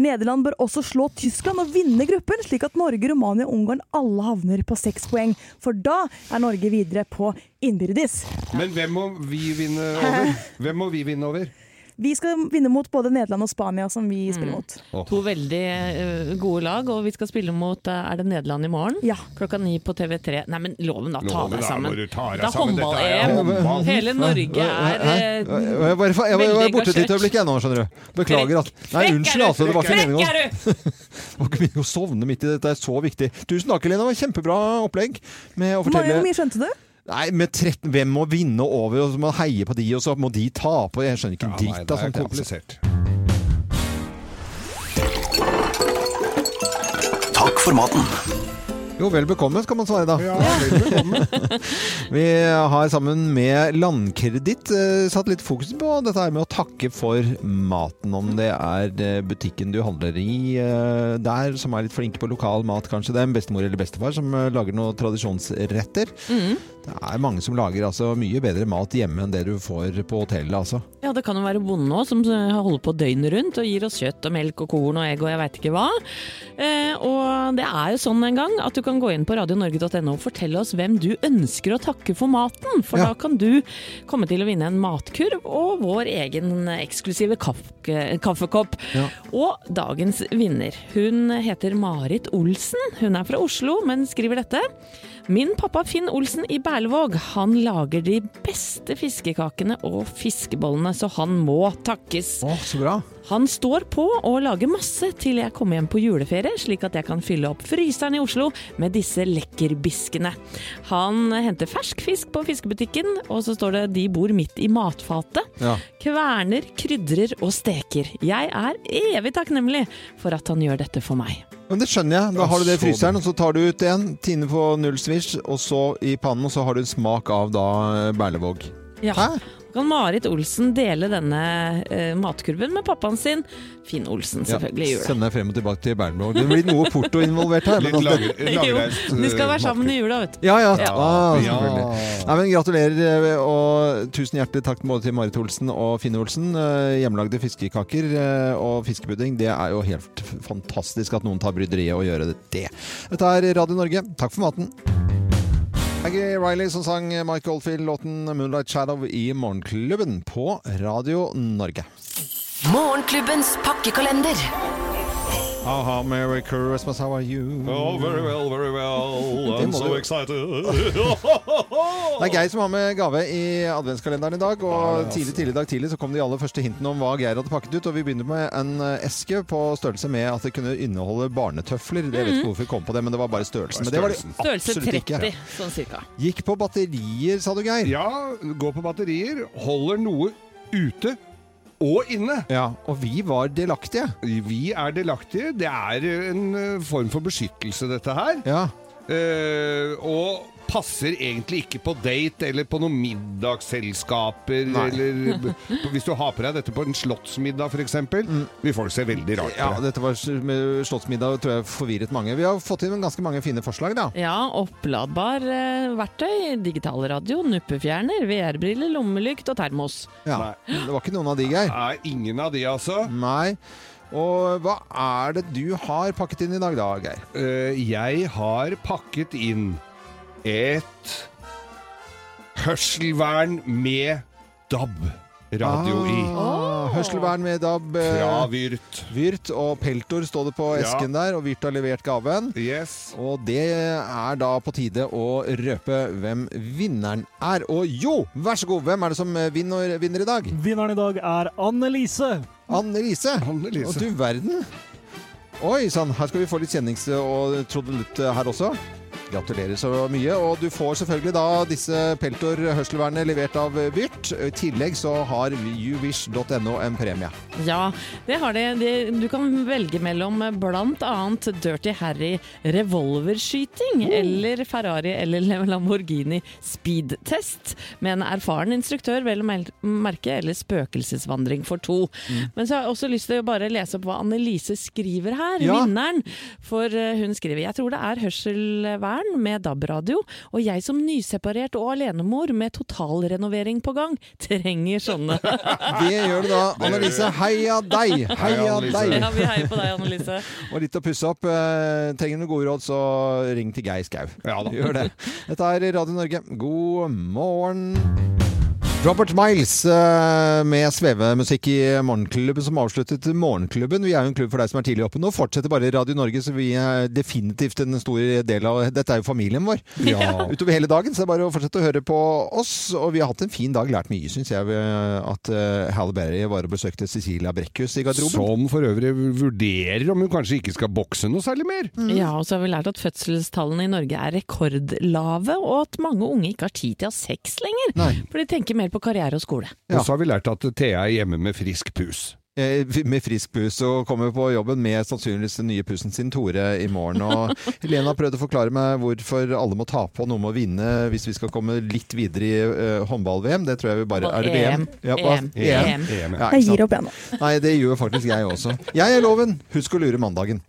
Speaker 5: Nederland bør også slå Tyskland og vinne gruppen, slik at Norge, Romania og Ungarn alle havner på seks poeng. For da er Norge videre på innbyrdes.
Speaker 3: Men hvem må vi vinne over? Hvem må vi vinne over?
Speaker 5: Vi skal vinne mot både Nederland og Spania, som vi spiller mot.
Speaker 4: To veldig eh, gode lag, og vi skal spille mot eh, er det Nederland i morgen? Klokka ni på TV3. Nei, men loven, da. Ta
Speaker 3: Loven,
Speaker 4: deg
Speaker 3: da
Speaker 4: sammen.
Speaker 3: må du ta deg
Speaker 4: Det er
Speaker 3: sammen. Dette er håndball.
Speaker 4: håndball-EM. Hele Norge er
Speaker 1: Hæ?
Speaker 4: eh,
Speaker 1: Jeg var bare- jeg var jeg var borte
Speaker 4: veldig
Speaker 1: et lite
Speaker 4: engasjert.
Speaker 1: øyeblikk jeg nå, skjønner du. Beklager at Nei, unnskyld, altså. Det var ikke meningen å
Speaker 4: Frekk er du!
Speaker 1: Det var ikke meningen å sovne midt i dette, det er så viktig. Tusen takk, Helene. Det var Kjempebra opplegg. Med å
Speaker 5: Hvor mange-
Speaker 1: fortelle
Speaker 5: hvor mye skjønte du?
Speaker 1: Nei, med 13, Hvem må vinne over, og så må man heie på de, og så må de tape. Jeg skjønner ikke en
Speaker 3: Ja, nei,
Speaker 1: dritt av
Speaker 3: det
Speaker 1: sånt.
Speaker 4: sånn
Speaker 1: jeg,
Speaker 3: er
Speaker 1: altså.
Speaker 3: komplisert.
Speaker 1: Takk for maten. Jo, vel bekomme, skal man svare da. Vi har sammen med Landkreditt eh, satt litt fokus på dette her med å takke for maten. Om det er eh, butikken du handler i eh, der, som er litt flinke på lokal mat, kanskje. Det er en bestemor eller bestefar som eh, lager noen tradisjonsretter.
Speaker 4: Mhm.
Speaker 1: Det er mange som lager altså, mye bedre mat hjemme enn det du får på hotellet, altså.
Speaker 4: Ja, det kan jo være bonde òg, som eh, holder på døgnet rundt og gir oss kjøtt og melk og korn og egg og jeg veit ikke hva. Eh, og det er jo sånn en gang at du kan gå inn på radionorge.no og fortelle oss hvem du ønsker å takke for maten. For da kan du komme til å vinne en matkurv og vår egen eksklusive kaff- kaffekopp. Og dagens vinner, hun heter Marit Olsen. Hun er fra Oslo, men skriver dette. Min pappa Finn Olsen i Berlevåg, han lager de beste fiskekakene og fiskebollene, så han må takkes.
Speaker 1: så bra.
Speaker 4: Han står på og lager masse til jeg kommer hjem på juleferie, slik at jeg kan fylle opp fryseren i Oslo med disse lekkerbiskene. Han henter fersk fisk på fiskebutikken, og så står det 'de bor midt i matfatet'.
Speaker 1: Ja.
Speaker 4: Kverner, krydrer og steker. Jeg er evig takknemlig for at han gjør dette for meg.
Speaker 1: Men det skjønner jeg. Da har du det i fryseren, og så tar du ut en. Tine på null svisj, og så i pannen, og så har du en smak av da eh, Berlevåg.
Speaker 4: Ja. Kan Marit Olsen dele denne eh, matkurven med pappaen sin? Finn Olsen selvfølgelig gjør det.
Speaker 1: Sender deg frem og tilbake til Berlevåg. Det blir noe porto involvert her. men
Speaker 3: Litt
Speaker 1: at
Speaker 3: lager- eh,
Speaker 1: det-
Speaker 4: Jo, de skal
Speaker 1: eh,
Speaker 4: være sammen i jula, vet du.
Speaker 1: Ja, ja. Ah,
Speaker 4: Ja.
Speaker 1: selvfølgelig. Nei, men gratulerer, eh, og tusen hjertelig takk både til Marit Olsen og Finn Olsen. Eh, Hjemmelagde fiskekaker eh, og fiskepudding, det er jo helt f- fantastisk at noen tar bryderiet og gjør det. det. Dette er Radio Norge, takk for maten. Aggie Riley som sang Mike Oldfield-låten 'Moonlight Shadow' i Morgenklubben på Radio Norge.
Speaker 9: Morgenklubbens pakkekalender.
Speaker 1: Aha, Merry Christmas, how are you?
Speaker 14: Oh, very well, very well.
Speaker 1: Det
Speaker 14: I'm
Speaker 1: må
Speaker 14: so
Speaker 1: du-
Speaker 14: excited.
Speaker 1: Det er Geir som har med gave i adventskalenderen i dag. Og
Speaker 14: altså.
Speaker 1: tidlig, tidlig i dag tidlig så kom de aller første hintene om hva Geir hadde pakket ut. Og vi begynner med en eh, eske på størrelse med at det kunne inneholde barnetøfler. Jeg vet ikke hvorfor vi kom på det, men det var bare størrelsen. Men det var det
Speaker 4: Mm. Størrelse
Speaker 1: absolutt
Speaker 4: 30,
Speaker 1: ikke.
Speaker 4: sånn cirka.
Speaker 1: Gikk på batterier, sa du, Geir?
Speaker 3: Ja, går på batterier. Holder noe ute. Og inne.
Speaker 1: Ja, Og vi var delaktige.
Speaker 3: Vi er delaktige. Det er en eh, form for beskyttelse, dette her. Eh, og passer egentlig ikke på date eller på noen middagsselskaper.
Speaker 1: Nei.
Speaker 3: Eller b- på- hvis du har på deg dette på en slottsmiddag, f.eks., vil folk se veldig rart
Speaker 1: Ja,
Speaker 3: på deg.
Speaker 1: dette var s- med slottsmiddag, tror jeg forvirret mange. Vi har fått inn ganske mange fine forslag, da.
Speaker 4: Ja, oppladbar eh, verktøy, digitalradio, nuppefjerner, VR-briller, lommelykt og termos.
Speaker 1: Ja. Det var ikke noen av de, Geir.
Speaker 3: Nei, ingen av de, altså.
Speaker 1: Nei. Og hva er det du har pakket inn i dag, da, Geir?
Speaker 3: Eh, jeg har pakket inn et hørselvern med DAB-radio i.
Speaker 1: Ah, Hørselvern med DAB. eh,
Speaker 3: Fra Vyrt.
Speaker 1: Vyrt og Peltor står det på
Speaker 3: Ja.
Speaker 1: esken der, og Vyrt har levert gaven. Og det er da på tide å røpe hvem vinneren er. Og jo, vær så god, hvem er det som vinner, vinner i dag?
Speaker 17: Vinneren i dag er Anne-Lise.
Speaker 1: Anne-Lise?
Speaker 3: Anne-Lise.
Speaker 1: Og du verden. Oi sann, her skal vi få litt kjennings- og trudelutt her også. Gratulerer så mye. Og du får selvfølgelig da disse Peltor hørselvernene levert av Vyrt. I tillegg så har youwish.no en premie.
Speaker 4: Ja, det har de. de. Du kan velge mellom eh, blant annet Dirty Harry revolverskyting eller Ferrari eller Lamborghini speedtest med en erfaren instruktør, vel å mel- merke, eller spøkelsesvandring for to. Men så har jeg også lyst til å bare lese opp hva Annelise skriver her,
Speaker 18: Ja.
Speaker 4: vinneren. For eh, hun skriver Jeg tror det er hørselvern med DAB-radio, og jeg som nyseparert og alenemor med totalrenovering på gang, trenger sånne.
Speaker 1: Det gjør du da, Annelise. Heia deg! Heia deg!
Speaker 4: Ja, vi heier på deg, Annelise.
Speaker 1: Og litt å pusse opp. Eh, Trenger du gode råd, så ring til Geir Skau. Gjør det. Dette er Radio Norge. God morgen. Robert Miles eh, med svevemusikk i Morgenklubben som avsluttet Morgenklubben. Vi er jo en klubb for deg som er tidlig oppe. Nå fortsetter bare Radio Norge, så vi er definitivt en stor del av Dette er jo familien vår.
Speaker 3: Ja.
Speaker 1: Utover hele dagen, så det er bare å fortsette å høre på oss. Og vi har hatt en fin dag. Lært mye, syns jeg, ved at eh, Halle Berry var og besøkte Cecilia Brekkhus i garderoben.
Speaker 3: Som for øvrig vurderer om hun kanskje ikke skal bokse noe særlig mer.
Speaker 1: Mm.
Speaker 4: Ja, og så har vi lært at fødselstallene i Norge er rekordlave, og at mange unge ikke har tid til å ha sex lenger. For de tenker mer på karriere og skole.
Speaker 3: Og så har vi lært at Thea er hjemme med frisk pus.
Speaker 1: Eh, Med frisk pus og kommer på jobben med sannsynligvis den nye pusen sin, Tore, i morgen. Og Helena prøvde å forklare meg hvorfor alle må tape og noen må vinne hvis vi skal komme litt videre i eh, håndball-VM. Det tror jeg vi bare
Speaker 5: Og
Speaker 1: Er det
Speaker 5: EM.
Speaker 1: VM? hva?
Speaker 5: EM.
Speaker 1: EM.
Speaker 3: E
Speaker 5: EM.
Speaker 1: Ja, ikke
Speaker 5: Jeg
Speaker 1: sant?
Speaker 5: gir opp, jeg nå.
Speaker 1: Nei, det gjør faktisk jeg også. Jeg er Loven. Husk å lure mandagen.